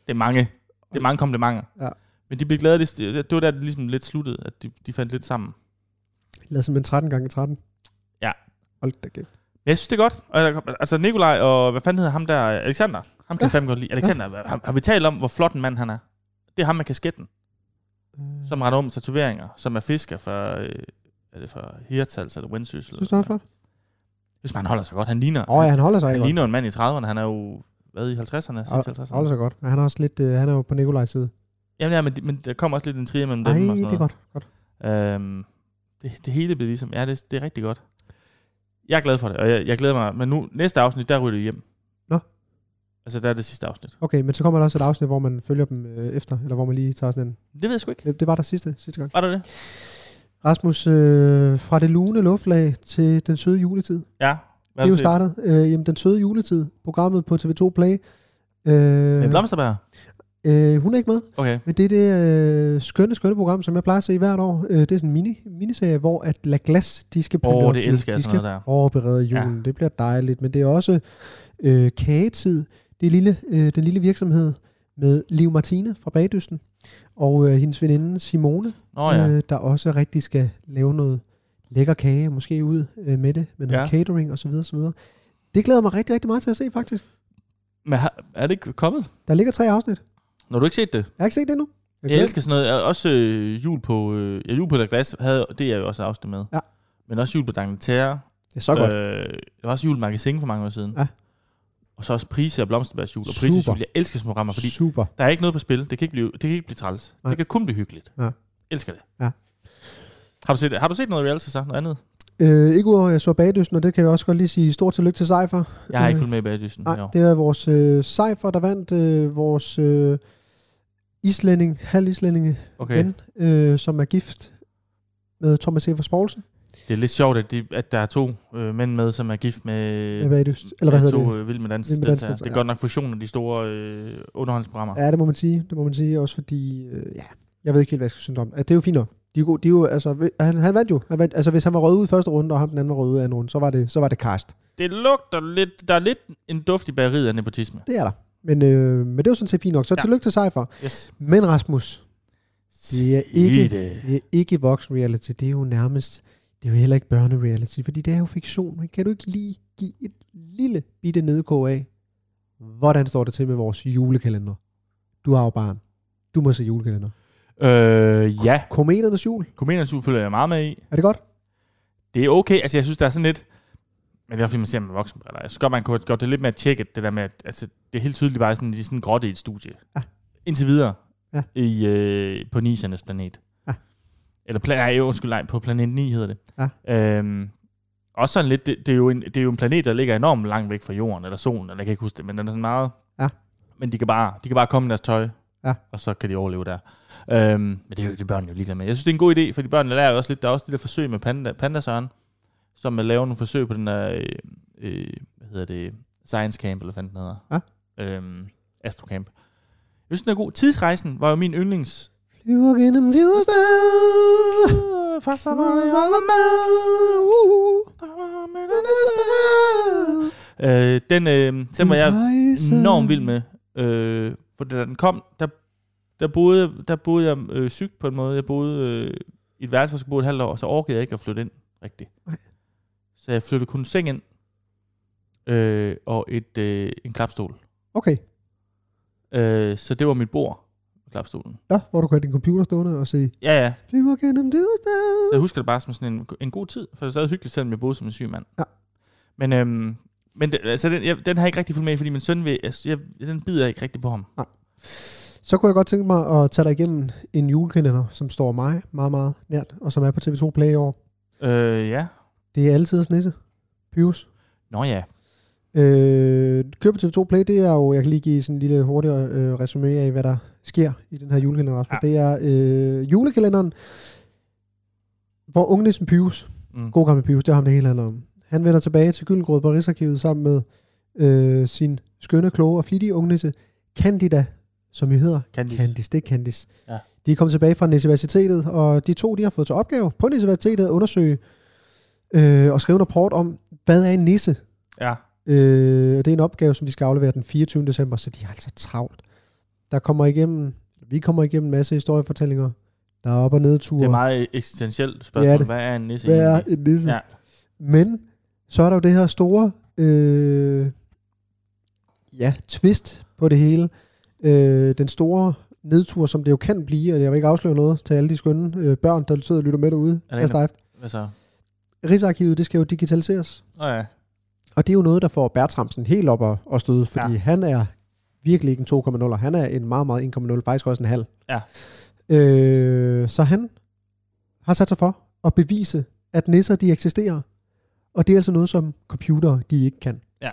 Speaker 2: Det er mange. Det er mange komplimenter.
Speaker 1: Ja.
Speaker 2: Men de blev glade, det, det var der, det ligesom lidt sluttede, at de, de fandt lidt sammen.
Speaker 1: Lad simpelthen 13 gange 13.
Speaker 2: Ja.
Speaker 1: Hold da kæft.
Speaker 2: Men jeg synes, det er godt. Og der kom, altså Nikolaj og hvad fanden hedder ham der? Alexander. Ham kan
Speaker 1: Ja.
Speaker 2: ja. fandme godt lide. Alexander, ja. har, har, vi talt om, hvor flot en mand han er? Det er ham med kasketten,
Speaker 1: Øh,
Speaker 2: som render om med tatoveringer, som er fisker fra, øh, er det fra Hirtals eller Vendsyssel?
Speaker 1: Synes du, han er flot?
Speaker 2: Hvis man holder sig godt. Han ligner,
Speaker 1: Åh, oh, ja, han holder sig
Speaker 2: han
Speaker 1: rigtig godt.
Speaker 2: ligner en mand i 30'erne. Han er jo, hvad, i 50'erne? Sidst i
Speaker 1: Han holder
Speaker 2: 50'erne?
Speaker 1: sig godt. Men han er også lidt, øh, han er jo på Nikolajs side.
Speaker 2: Jamen ja, men, de- men der kommer også lidt en trio mellem
Speaker 1: Nej,
Speaker 2: dem. og sådan
Speaker 1: det er godt. godt.
Speaker 2: noget. Øhm, det, det hele bliver ligesom, ja, det, det er rigtig godt. Jeg er glad for det, og jeg, jeg glæder mig. Men nu, næste afsnit, der ryger det hjem.
Speaker 1: Nå.
Speaker 2: Altså, der er det sidste afsnit.
Speaker 1: Okay, men så kommer der også et afsnit, hvor man følger dem øh, efter, eller hvor man lige tager sådan en.
Speaker 2: Det ved jeg sgu ikke.
Speaker 1: Det, det var der sidste, sidste gang.
Speaker 2: Var der det?
Speaker 1: Rasmus, øh, fra det lune luftlag til den søde juletid.
Speaker 2: Ja. Hvad
Speaker 1: det er jo startet. Øh, jamen, den søde juletid, programmet på TV2 Play. Øh,
Speaker 2: Med blomsterbær?
Speaker 1: øh, hun er ikke med,
Speaker 2: Okay.
Speaker 1: men det er det øh, skønne, skønne program, som jeg plejer at se hvert år. Øh, det er sådan en mini, miniserie, hvor at La Glace, de skal
Speaker 2: Åh,
Speaker 1: pynte
Speaker 2: oh,
Speaker 1: op
Speaker 2: det
Speaker 1: til-
Speaker 2: elsker jeg
Speaker 1: de
Speaker 2: sådan
Speaker 1: skal
Speaker 2: noget der.
Speaker 1: forberede julen. Ja. Det bliver dejligt, men det er også øh, kagetid. Det er lille, øh, den lille virksomhed med Liv Martine fra Bagdysten og øh, hendes veninde Simone,
Speaker 2: Nå ja.
Speaker 1: øh, der også rigtig skal lave noget lækker kage, måske ud øh, med det, med noget ja.
Speaker 2: Ja.
Speaker 1: catering osv. osv. Det glæder jeg mig rigtig, rigtig meget til at se faktisk.
Speaker 2: Men har- er det ikke kommet?
Speaker 1: Der ligger tre afsnit.
Speaker 2: Når du ikke set det?
Speaker 1: Jeg har ikke set det endnu. Jeg
Speaker 2: Jeg
Speaker 1: glæder-
Speaker 2: elsker sådan noget. Også øh, jul på... Øh, ja, jul på der glas havde, det er jo også et afsnit med.
Speaker 1: Ja.
Speaker 2: Men også jul på Dangleterre.
Speaker 1: Det er så godt.
Speaker 2: Øh, der var også jul i Magasin for mange år siden.
Speaker 1: Ja.
Speaker 2: Og så også Prise og Blomsterbærs jul. Og
Speaker 1: Super.
Speaker 2: Prises jul. Jeg elsker sådan nogle programmer, fordi
Speaker 1: Super.
Speaker 2: der er ikke noget på spil. Det kan ikke blive, det kan ikke blive træls.
Speaker 1: Nej.
Speaker 2: Det kan kun blive hyggeligt.
Speaker 1: Ja.
Speaker 2: Elsker det.
Speaker 1: Ja.
Speaker 2: Har du set, har du set noget reality så? Noget andet?
Speaker 1: Øh, ikke udover, at jeg så Bagdysten, og det kan jeg også godt lige sige stort tillykke til Seifer.
Speaker 2: Jeg har
Speaker 1: Øh,
Speaker 2: ikke fulgt med i bagdysen.
Speaker 1: Nej, det er vores øh, Seifer, der vandt øh, vores øh, islænding, halvislændinge
Speaker 2: Okay.
Speaker 1: okay. ven, øh, som er gift med Thomas Evers Poulsen.
Speaker 2: Det er lidt sjovt, at, de, at der er to øh, mænd med, som er gift med,
Speaker 1: Hvad er det? Eller hvad
Speaker 2: med
Speaker 1: hedder
Speaker 2: to
Speaker 1: det?
Speaker 2: øh, vild med dans.
Speaker 1: Vild med
Speaker 2: Det,
Speaker 1: Dans
Speaker 2: det,
Speaker 1: deltagere,
Speaker 2: er
Speaker 1: ja.
Speaker 2: godt nok fusionen af de store øh, underholdningsprogrammer. Ja.
Speaker 1: Ja, det må man sige. Det må man sige, også fordi... Øh, ja, jeg ved ikke helt, hvad jeg skal synes om. det. Det er jo fint nok. De er, jo gode, de er jo, altså, han, han vandt jo. Han vandt, altså, hvis han var rød ud i første runde, og ham den anden var rød ud i anden runde, så var det, så var det karst.
Speaker 2: Det lugter lidt, der er lidt en duft i bageriet af nepotisme.
Speaker 1: Det er der. Men, øh, men det er jo sådan set fint nok. Så ja.
Speaker 2: Ja.
Speaker 1: tillykke til Cypher.
Speaker 2: Yes.
Speaker 1: Men Rasmus, det er
Speaker 2: Sig
Speaker 1: ikke,
Speaker 2: det.
Speaker 1: det er ikke voksen reality. Det er jo nærmest, det er jo heller ikke børnereality, fordi det er jo fiktion. Men kan du ikke lige give et lille bitte nedkog af, hvordan står det til med vores julekalender? Du har jo barn. Du må se julekalender.
Speaker 2: Øh, ja,
Speaker 1: Kometernes jul.
Speaker 2: Kometernes Jul følger jeg meget med i.
Speaker 1: Er det godt?
Speaker 2: Det er okay, altså jeg synes, der er sådan lidt... Men det er også fordi, man ser med voksenbriller. Jeg synes godt, man kunne godt det lidt mere tjekket, det der med, at altså, det er helt tydeligt bare sådan, de er sådan grotte i et studie.
Speaker 1: Ja.
Speaker 2: Indtil videre.
Speaker 1: Ja.
Speaker 2: I, øh, på Nisernes planet.
Speaker 1: Ja.
Speaker 2: Eller pla- nej, undskyld, nej, på planet 9 hedder det. Ja. Øhm, også sådan lidt, det, det, er jo en, det er jo en planet, der ligger enormt langt væk fra jorden, eller solen, eller jeg kan ikke huske det, men den er sådan meget...
Speaker 1: Ja.
Speaker 2: Men de kan bare, de kan bare komme med deres tøj,
Speaker 1: Ja.
Speaker 2: og så kan de overleve der. Øhm, men det er jo det er børnene jo ligeglade med. Jeg synes, det er en god idé, fordi børnene lærer jo også lidt. Der er også det der forsøg med panda, pandasøren, som øh, laver nogle forsøg på den der, øh, øh, hvad hedder det, science camp, eller hvad fanden den hedder. Ja. Øhm, astrocamp. Jeg synes, den er god. Tidsrejsen var jo min yndlings...
Speaker 1: Flyver gennem Tuesday.
Speaker 2: For så Øh, den, øh, den var jeg enormt vild med. Øh, for da den kom, der, der, boede, der boede jeg øh, sygt på en måde. Jeg boede øh, i et værelse, hvor jeg skulle bo et halvt år, og så orkede jeg ikke at flytte ind rigtigt.
Speaker 1: Nej.
Speaker 2: Så jeg flyttede kun en seng ind, øh, og et, øh, en klapstol.
Speaker 1: Okay.
Speaker 2: Øh, så det var mit bord, klapstolen.
Speaker 1: Nå, hvor du kan have din computer stående og se
Speaker 2: Ja, ja.
Speaker 1: Flyver gennem Tuesday.
Speaker 2: Så jeg husker det bare som sådan en, en god tid, for det er stadig hyggeligt, selvom jeg boede som en syg mand.
Speaker 1: Ja.
Speaker 2: Men, øhm, men det, altså, den, jeg, den har jeg ikke rigtig fulgt med i, fordi min søn, vil, altså, jeg, den bider ikke rigtig på ham.
Speaker 1: Så kunne jeg godt tænke mig at tage dig igennem en julekalender, som står mig meget, meget nært, og som er på TV2 Play i år.
Speaker 2: Øh, ja.
Speaker 1: Det er altid nisse. Pyrus.
Speaker 2: Nå ja.
Speaker 1: Øh, køb på TV2 Play, det er jo, jeg kan lige give sådan en lille hurtigere øh, resume af, hvad der sker i den her julekalender. Rasmus.
Speaker 2: Ja.
Speaker 1: Det er øh, julekalenderen, hvor ungnissen Pyrus,
Speaker 2: Mm.
Speaker 1: god gammel Pyrus, det er ham det hele handler om. Han vender tilbage til Gyldengrød på Rigsarkivet sammen med øh, sin skønne, kloge og flittige ungnisse Candida, som jo hedder
Speaker 2: Candice.
Speaker 1: Candice, det er Candice.
Speaker 2: Ja.
Speaker 1: De er kommet tilbage fra universitetet, og de to de har fået til opgave på universitetet at undersøge øh, og skrive en rapport om, hvad er en nisse?
Speaker 2: Ja.
Speaker 1: Øh, og det er en opgave, som de skal aflevere den 24. december, så de er altså travlt. Der kommer igennem, vi kommer igennem en masse historiefortællinger. Der er op- og nedture.
Speaker 2: Det er meget eksistentielt spørgsmål.
Speaker 1: Ja,
Speaker 2: Ja,
Speaker 1: det-
Speaker 2: det. Hvad er en nisse
Speaker 1: Hvad er
Speaker 2: egentlig?
Speaker 1: en nisse?
Speaker 2: Ja.
Speaker 1: Men så er der jo det her store øh, ja, twist på det hele. Øh, den store nedtur, som det jo kan blive, og jeg vil ikke afsløre noget til alle de skønne øh, børn, der sidder og lytter med derude.
Speaker 2: Er der
Speaker 1: Pas
Speaker 2: en
Speaker 1: dig.
Speaker 2: Hvad så?
Speaker 1: Rigsarkivet, det skal jo digitaliseres.
Speaker 2: Altså, Nå ja.
Speaker 1: Og det er jo noget, der får Bertramsen helt op og, og støde, fordi ja.
Speaker 2: Ja.
Speaker 1: han er virkelig ikke en 2,0, og han er en meget, meget 1,0, faktisk også en halv.
Speaker 2: Ja.
Speaker 1: Øh, så han har sat sig for at bevise, at nisser de eksisterer, og det er altså noget, som computere de ikke kan.
Speaker 2: Ja.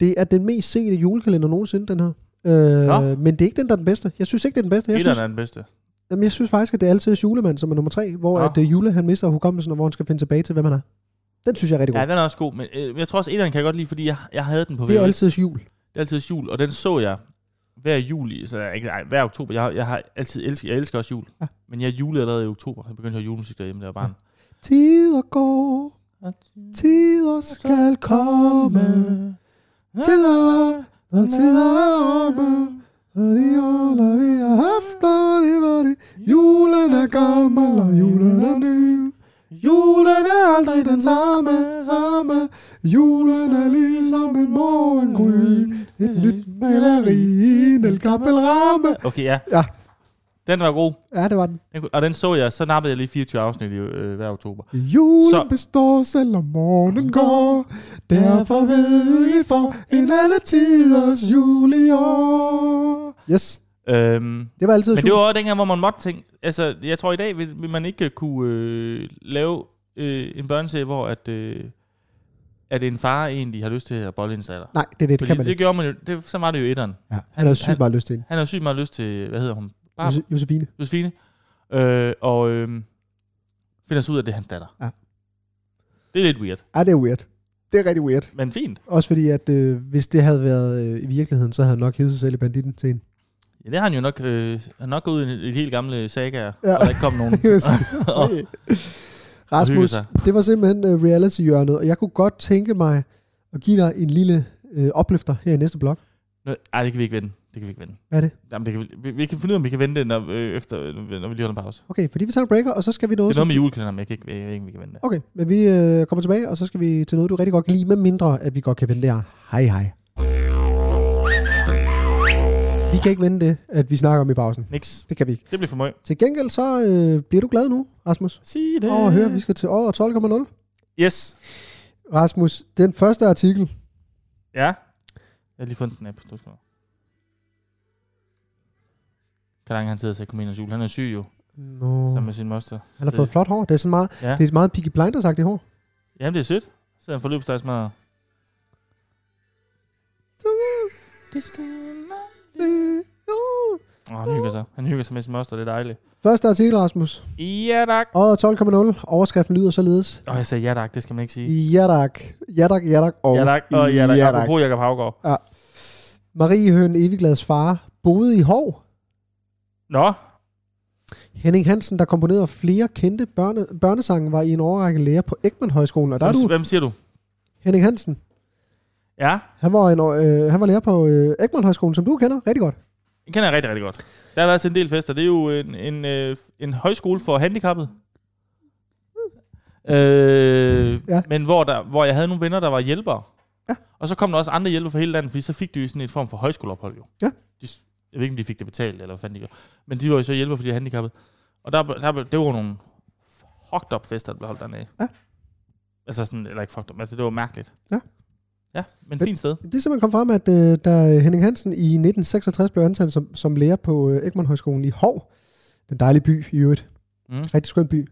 Speaker 1: Det er den mest sete julekalender nogensinde, den her. Øh,
Speaker 2: Nå.
Speaker 1: men det er ikke den, der er den bedste. Jeg synes ikke, det er den bedste. Jeg
Speaker 2: Etteren
Speaker 1: synes,
Speaker 2: er den bedste.
Speaker 1: jamen, jeg synes faktisk, at det er altid julemand, som er nummer tre, hvor
Speaker 2: Nå.
Speaker 1: at, øh, Jule han mister hukommelsen, og hvor han skal finde tilbage til, hvem han er. Den synes jeg er rigtig god.
Speaker 2: Ja, den er også god, men øh, jeg tror også, etteren kan jeg godt lide, fordi jeg, jeg havde den på
Speaker 1: det er
Speaker 2: VHS.
Speaker 1: altid jul.
Speaker 2: Det er altid jul, og den så jeg hver juli, så jeg, ikke, nej, hver oktober. Jeg, har- jeg har altid elsket, jeg elsker også jul.
Speaker 1: Ja.
Speaker 2: Ja. Men jeg julede allerede i oktober. Jeg begyndte at høre julemusik derhjemme, da jeg var barn.
Speaker 1: Tider går, tider skal komme, tider var, og tider er omme, og de åler vi har haft, og det var det. Julen er gammel, og julen er ny. Julen er aldrig den samme, samme. Julen er ligesom en morgengry. Et nyt maleri, i en elgammel ramme.
Speaker 2: Okay, ja.
Speaker 1: Ja.
Speaker 2: Den var god,
Speaker 1: Ja, det var den.
Speaker 2: den, kunne- og den så jeg. Så nappede jeg lige 24 afsnit i, øh, hver oktober.
Speaker 1: Julen
Speaker 2: Så-
Speaker 1: består, selvom morgenen går. Derfor ved vi for en alle tiders jul i år. Yes,
Speaker 2: Øhm,
Speaker 1: det var altid
Speaker 2: Men det var også dengang, hvor man måtte tænke... Altså, jeg tror i dag vil, vil man ikke kunne øh, lave øh, en børneserie, hvor at, øh, at en far egentlig har lyst til at bolle en datter.
Speaker 1: Nej, det er det, det
Speaker 2: Fordi
Speaker 1: kan
Speaker 2: det,
Speaker 1: man ikke.
Speaker 2: gjorde man jo... Det, så var det jo etteren.
Speaker 1: Ja. Han havde sygt
Speaker 2: han-
Speaker 1: meget lyst til en.
Speaker 2: Han har sygt meget lyst til... Hvad hedder hun? Barb,
Speaker 1: Jose- Josefine.
Speaker 2: Josefine. Øh, og øh, finder så ud af, at det er hans datter.
Speaker 1: Ja.
Speaker 2: Det er lidt weird,
Speaker 1: Ja, det er weird. Det er rigtig weird.
Speaker 2: men fint.
Speaker 1: Også fordi, at øh, hvis det havde været øh, i virkeligheden, så havde han nok heddet sig selv i banditten til en.
Speaker 2: Ja, det har han jo nok, øh, han har nok gået ud i en- i de helt gamle sagaer,
Speaker 1: Ja.
Speaker 2: ja. og der ikke kom nogen. og, og hygge
Speaker 1: Rasmus,
Speaker 2: sig.
Speaker 1: det var simpelthen øh, reality-hjørnet, og jeg kunne godt tænke mig at give dig en lille øh, opløfter her i næste blok.
Speaker 2: Nå, Ej, det kan vi ikke vende. Det kan vi ikke vende.
Speaker 1: Hvad er det?
Speaker 2: Jamen, det kan vi, vi, vi kan finde ud af, om vi kan vende det, når, øh, efter, når vi lige holder en pause.
Speaker 1: Okay, fordi vi tager en breaker, og så skal vi
Speaker 2: Det
Speaker 1: noget...
Speaker 2: er noget med julekalenderen, men jeg kan ikke, jeg, ved ikke, om vi kan vende det.
Speaker 1: Okay, men vi øh, kommer tilbage, og så skal vi til noget, du rigtig godt kan lide, med mindre, at vi godt kan vende det her. Hej, hej. Vi kan ikke vende det, at vi snakker om i pausen.
Speaker 2: Niks.
Speaker 1: Det kan vi ikke.
Speaker 2: Det bliver for møg.
Speaker 1: Til gengæld så øh, bliver du glad nu, Rasmus.
Speaker 2: Sig det.
Speaker 1: Åh, hør, vi skal til over 12,0.
Speaker 2: Yes.
Speaker 1: Rasmus, den første artikel.
Speaker 2: Ja. Jeg har lige fundet en snap. Du skal. Kan langt han sidder og ser Comedians Jul? Han er syg jo,
Speaker 1: Nå,
Speaker 2: sammen med sin moster.
Speaker 1: han har fået flot hår. Det er sådan meget,
Speaker 2: øh, Ja.
Speaker 1: det er meget Peaky Blinders-agtigt hår.
Speaker 2: Jamen, det er sødt. Så sidder han forløbsdagsmadder. Det skal Åh, han hygger sig. Han hygger sig med sin moster, det er dejligt.
Speaker 1: Første artikel, Rasmus.
Speaker 2: Ja, tak.
Speaker 1: Året 12,0. Overskriften lyder således.
Speaker 2: Åh, jeg sagde ja, tak. Det skal man ikke sige.
Speaker 1: Ja tak. Ja tak, ja tak. Og
Speaker 2: Ja, tak. Og ja, tak. Apropos Jacob Havgaard.
Speaker 1: Marie Høen Eviglads far boede i Hov.
Speaker 2: Nå,
Speaker 1: Henning Hansen, der komponerede flere kendte børne, børnesange, var i en overrække lærer på Ekman Højskolen. Og der er
Speaker 2: hvem,
Speaker 1: du,
Speaker 2: hvem siger du?
Speaker 1: Henning Hansen.
Speaker 2: Ja,
Speaker 1: Han var, en, øh, han var lærer på øh, Ekman Højskolen, som du kender rigtig godt.
Speaker 2: den kender jeg rigtig, rigtig godt. Der har været til en del fester. Det er jo en, en, øh, en højskole for handicappede. Øh,
Speaker 1: Mm. Ja.
Speaker 2: ja. Men hvor, der, hvor jeg havde nogle venner, der var hjælpere.
Speaker 1: Ja.
Speaker 2: Og så kom der også andre hjælpere fra hele landet, fordi så fik de jo sådan en form for højskoleophold jo.
Speaker 1: Ja.
Speaker 2: De, s- jeg ved ikke, om de fik det betalt, eller hvad fanden de gjorde. Men de var jo så hjælpere, fordi de er handicappede. Og der, der, blev- det var nogle fucked up fester, der blev holdt dernede.
Speaker 1: Ja.
Speaker 2: Altså sådan, eller ikke fucked up, altså det var mærkeligt.
Speaker 1: Ja.
Speaker 2: Ja,
Speaker 1: Men-
Speaker 2: men fint sted.
Speaker 1: Det er simpelthen kom frem, at øh, da Henning Hansen i 1966 blev ansat som, som lærer på øh, Ekman Højskolen i Hov, den dejlige by i øvrigt,
Speaker 2: Mm.
Speaker 1: rigtig skøn by,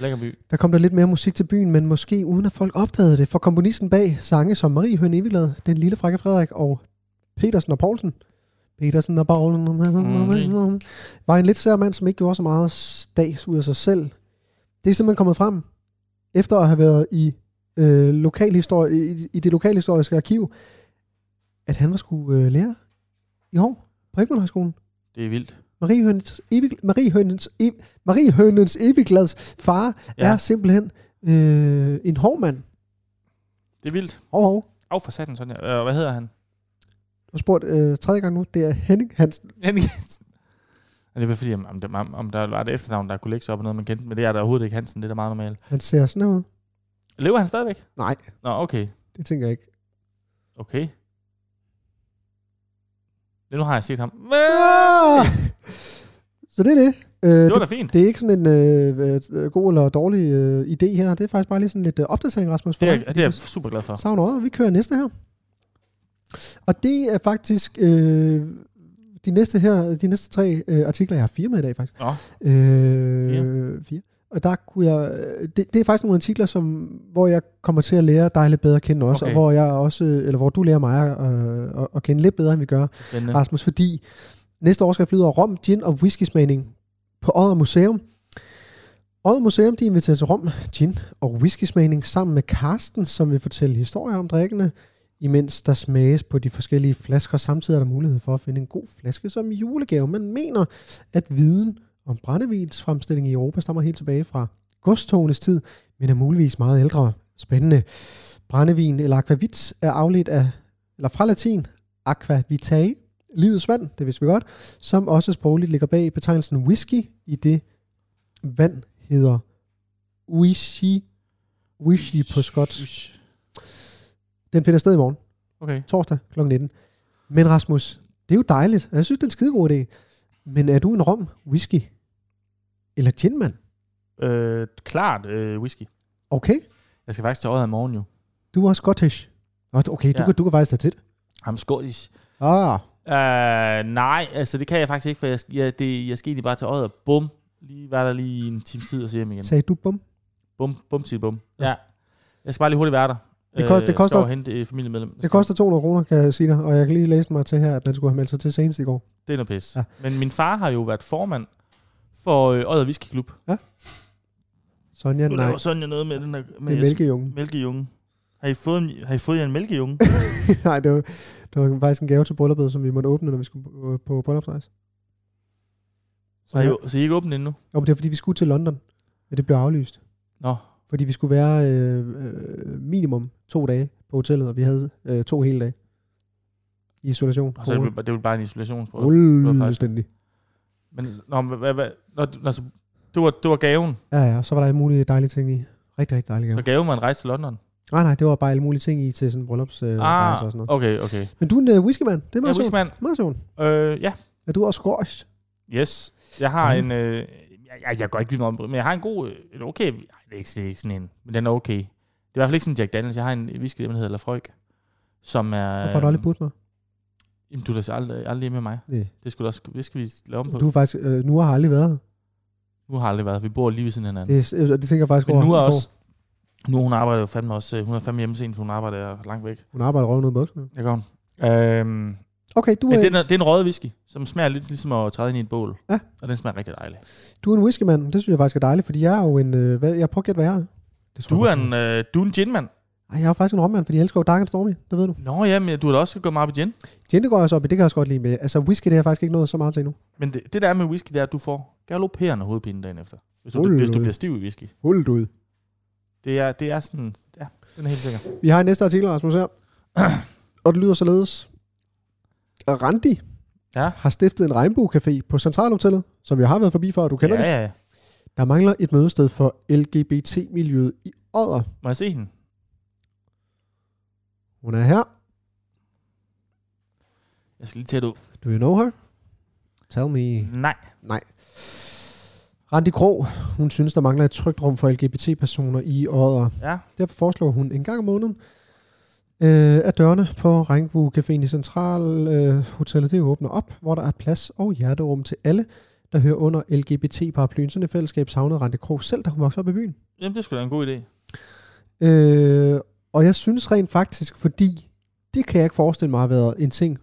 Speaker 2: Lækker by.
Speaker 1: Der kom der lidt mere musik til byen, men måske uden at folk opdagede det, for komponisten bag sange som Marie Høn Eviglad, Den Lille Frække Frederik og Petersen og Poulsen, Petersen og Poulsen,
Speaker 2: Mm.
Speaker 1: var en lidt sær mand, som ikke gjorde så meget stags ud af sig selv. Det er simpelthen kommet frem, efter at have været i, øh, lokalhistorie, i, i det lokalhistoriske arkiv, at han var skulle øh, lærer i Hov på Ekman Højskolen.
Speaker 2: Det er vildt.
Speaker 1: Marie Hønens, evig, Marie Hønens, ev, Marie Hønens Eviglads far ja.
Speaker 2: Ja.
Speaker 1: er simpelthen øh, en hård mand.
Speaker 2: Det er vildt.
Speaker 1: Hov, hov.
Speaker 2: Af for satan, sådan her. Øh, hvad hedder han?
Speaker 1: Du har spurgt øh, tredje gang nu, det er Henning Hansen.
Speaker 2: Henning Hansen. Og det er bare fordi, om, om, der- om, om der var et efternavn, der kunne lægge sig op og noget, man kendte, men det er der overhovedet ikke Hansen, det er da meget normalt.
Speaker 1: Han ser sådan her ud.
Speaker 2: Lever han stadigvæk?
Speaker 1: Nej,
Speaker 2: Nå, okay.
Speaker 1: det tænker jeg ikke.
Speaker 2: Okay. Det, nu har jeg set ham. Men
Speaker 1: Ah! Så det er det. Øh,
Speaker 2: det var
Speaker 1: det,
Speaker 2: da fint.
Speaker 1: det er ikke sådan en øh, øh, god eller dårlig øh, idé her. Det er faktisk bare lige sådan lidt øh, opdatering, Rasmus. for
Speaker 2: Det er,
Speaker 1: dig,
Speaker 2: jeg-
Speaker 1: fordi
Speaker 2: det er jeg
Speaker 1: du
Speaker 2: super glad for.
Speaker 1: savner øjet, og vi kører næste her. Og det er faktisk øh, de næste her, de næste tre øh, artikler, jeg har fire med i dag faktisk.
Speaker 2: Nå,
Speaker 1: Øh, fire. Og der kunne jeg, øh, det, det er faktisk nogle artikler, som, hvor jeg kommer til at lære dig lidt bedre at kende også, okay.
Speaker 2: Okay.
Speaker 1: og hvor jeg også, eller hvor du lærer mig øh, at, at kende lidt bedre, end vi gør,
Speaker 2: spændende.
Speaker 1: ja. Rasmus, fordi næste overskrift lyder Rom, Gin og Whiskysmagning på Odder Museum. Odder Museum, de inviterer til Rom, Gin og Whiskysmagning sammen med Karsten, som vil fortælle historier om drikkene, imens der smages på de forskellige flasker. Samtidig er der mulighed for at finde en god flaske som julegave. Man mener, at viden om brændevins fremstilling i Europa stammer helt tilbage fra godstogenes tid, men er muligvis meget ældre. Spændende. Brændevin eller aquavit er afledt af, eller fra latin, aqua vitae, livets vand, det vidste vi godt, som også sprogligt ligger bag betegnelsen whisky, i det vand hedder whisky, whisky på skotsk.
Speaker 2: Ush.
Speaker 1: Den finder sted i morgen
Speaker 2: Okay.
Speaker 1: torsdag kl. 19. Men Rasmus, det er jo dejligt, og jeg synes, det er en skidegod idé. Men er du en rom, whisky eller ginman?
Speaker 2: Øh, klart øh, whisky.
Speaker 1: Okay,
Speaker 2: Jeg skal faktisk til øjet i morgen jo.
Speaker 1: du er scottish. Nå, Okay, du, ja.
Speaker 2: Ja.
Speaker 1: kan, du kan faktisk tage til det.
Speaker 2: Ham skådis.
Speaker 1: Ah,
Speaker 2: Uh, nej, altså det kan jeg faktisk ikke, for jeg, jeg, det, jeg skal egentlig bare til øjet og bum. Lige være der lige en times tid og se hjem igen.
Speaker 1: sagde du bum.
Speaker 2: Bum, bum, sig bum.
Speaker 1: Ja.
Speaker 2: Ja. Jeg skal bare lige hurtigt være der.
Speaker 1: Det kost-
Speaker 2: Øh,
Speaker 1: det koster-
Speaker 2: Står og hente øh, familiemedlem.
Speaker 1: Det koster 200 kroner, kan jeg sige dig, og jeg kan lige læse mig til her, at man skulle have meldt sig til senest i går.
Speaker 2: Det er noget pis.
Speaker 1: Ja.
Speaker 2: Ja. Men min far har jo været formand for øh, Odder Whisky Klub.
Speaker 1: Ja. Sonja,
Speaker 2: Nu
Speaker 1: nej.
Speaker 2: laver Sonja noget med den der med
Speaker 1: Med
Speaker 2: jeres
Speaker 1: mælkejungen.
Speaker 2: mælkejunge. Har I fået, en- har I fået jer en mælkejunge?
Speaker 1: nej, det var, det var faktisk en gave til brylluppet, som vi måtte åbne, når vi skulle på- på bryllupsrejse.
Speaker 2: så, har I, så I er ikke åbnet endnu?
Speaker 1: Jo, men det er fordi, vi skulle til London, men det blev aflyst.
Speaker 2: Nå.
Speaker 1: Fordi vi skulle være øh, øh, minimum to dage på hotellet, og vi havde øh, to hele dage i isolation.
Speaker 2: Og så er det, vel- det er vel bare en isolationsbrød.
Speaker 1: Fuldstændig.
Speaker 2: Men, nå, men hvad, hvad, nå, du- altså, det, var, det var gaven.
Speaker 1: Ja, ja, og så var der alle mulige dejlige ting i. Rigtig, rigtig dejlige
Speaker 2: Ja. Så
Speaker 1: gaver.
Speaker 2: gaven var en rejse til London.
Speaker 1: Nej, nej, det var bare alle mulige ting i til sådan en bryllups øh, ah, og sådan noget.
Speaker 2: okay, okay.
Speaker 1: Men du er en øh, whiskymand. Det er
Speaker 2: Jeg
Speaker 1: meget
Speaker 2: er
Speaker 1: sjovt.
Speaker 2: whiskyman.
Speaker 1: Meget sjovt.
Speaker 2: Øh, ja,
Speaker 1: Er du også squash?
Speaker 2: yes. Jeg har
Speaker 1: Dejligt.
Speaker 2: en... Øh, jeg, jeg, jeg går ikke vildt meget om men jeg har en god... øh, En okay... Ej, det er ikke, det er ikke sådan en... Men den er okay. Det er i hvert fald ikke sådan en Jack Daniels. Jeg har en whisky, der hedder Lafroik, som er...
Speaker 1: Hvorfor har du aldrig
Speaker 2: øhm, Mm-hmm.
Speaker 1: budt mig?
Speaker 2: Jamen, du er da så aldrig, aldrig hjemme med mig.
Speaker 1: Nej.
Speaker 2: Det, skulle du også, det skal vi lave om på.
Speaker 1: Du er faktisk, øh, nu har aldrig været her.
Speaker 2: Nu har jeg aldrig været. Vi bor lige ved siden af hinanden.
Speaker 1: Det, er- øh, det tænker jeg faktisk
Speaker 2: Men
Speaker 1: over.
Speaker 2: nu er
Speaker 1: Hvor-
Speaker 2: også... Nu hun arbejder jo fandme også... øh, Hun er fandme hjemme sent, for hun arbejder langt væk.
Speaker 1: Hun arbejder røven ud af bukserne.
Speaker 2: Det gør hun. Øhm,
Speaker 1: Okay, du er,
Speaker 2: men det er, en- det er en røget whisky, som smager lidt ligesom at træde ind i et bål.
Speaker 1: Ja.
Speaker 2: Og den smager rigtig dejlig.
Speaker 1: du er en whiskymand. Det synes jeg faktisk er dejligt, fordi jeg er jo en... Øh, hvad, jeg prøver at gætte, hvad jeg er. Det tror
Speaker 2: Du
Speaker 1: jeg
Speaker 2: er
Speaker 1: godt,
Speaker 2: en, øh, du er en ginmand.
Speaker 1: Ej, jeg er faktisk en rommand, fordi jeg elsker jo Dark and Stormy, det ved du.
Speaker 2: Nå ja, men du har da også gået meget op i gin.
Speaker 1: Gin, det går jeg også op i, det kan jeg også godt lide med. Altså, whisky, det har jeg faktisk ikke nået så meget til endnu.
Speaker 2: Men det, det der er med whisky, det er, at du får galoperende hovedpine dagen efter. Hvis du,
Speaker 1: Hold
Speaker 2: hvis du
Speaker 1: nu.
Speaker 2: bliver stiv i whisky.
Speaker 1: Fuldt ud.
Speaker 2: Det er, det er sådan... Ja, den er helt sikker.
Speaker 1: Vi har en næste artikel, Rasmus her. Og det lyder således. Randi
Speaker 2: Ja.
Speaker 1: har stiftet en regnbuecafé på Centralhotellet, som jeg har været forbi før, og du kender
Speaker 2: ja,
Speaker 1: det.
Speaker 2: ja, ja.
Speaker 1: Der mangler et mødested for LGBT-miljøet i Odder.
Speaker 2: Må jeg se hende?
Speaker 1: Hun er her.
Speaker 2: Jeg skal lige tæt ud.
Speaker 1: Do you know her? Tell me.
Speaker 2: Nej.
Speaker 1: Nej. Randi Krog, hun synes, der mangler et trygt rum for LGBT-personer i Odder.
Speaker 2: Ja.
Speaker 1: Derfor foreslår hun en gang om måneden, øh, at dørene på Regnbue Caféen i Central øh, Hotellet det åbner op, hvor der er plads og hjerterum til alle, der hører under LGBT-paraplyen. Sådan et fællesskab savnede Rante Krog selv, da hun voksede op i byen.
Speaker 2: Jamen, det skulle da en god idé.
Speaker 1: Øh, og jeg synes rent faktisk, fordi det kan jeg ikke forestille mig har været en ting,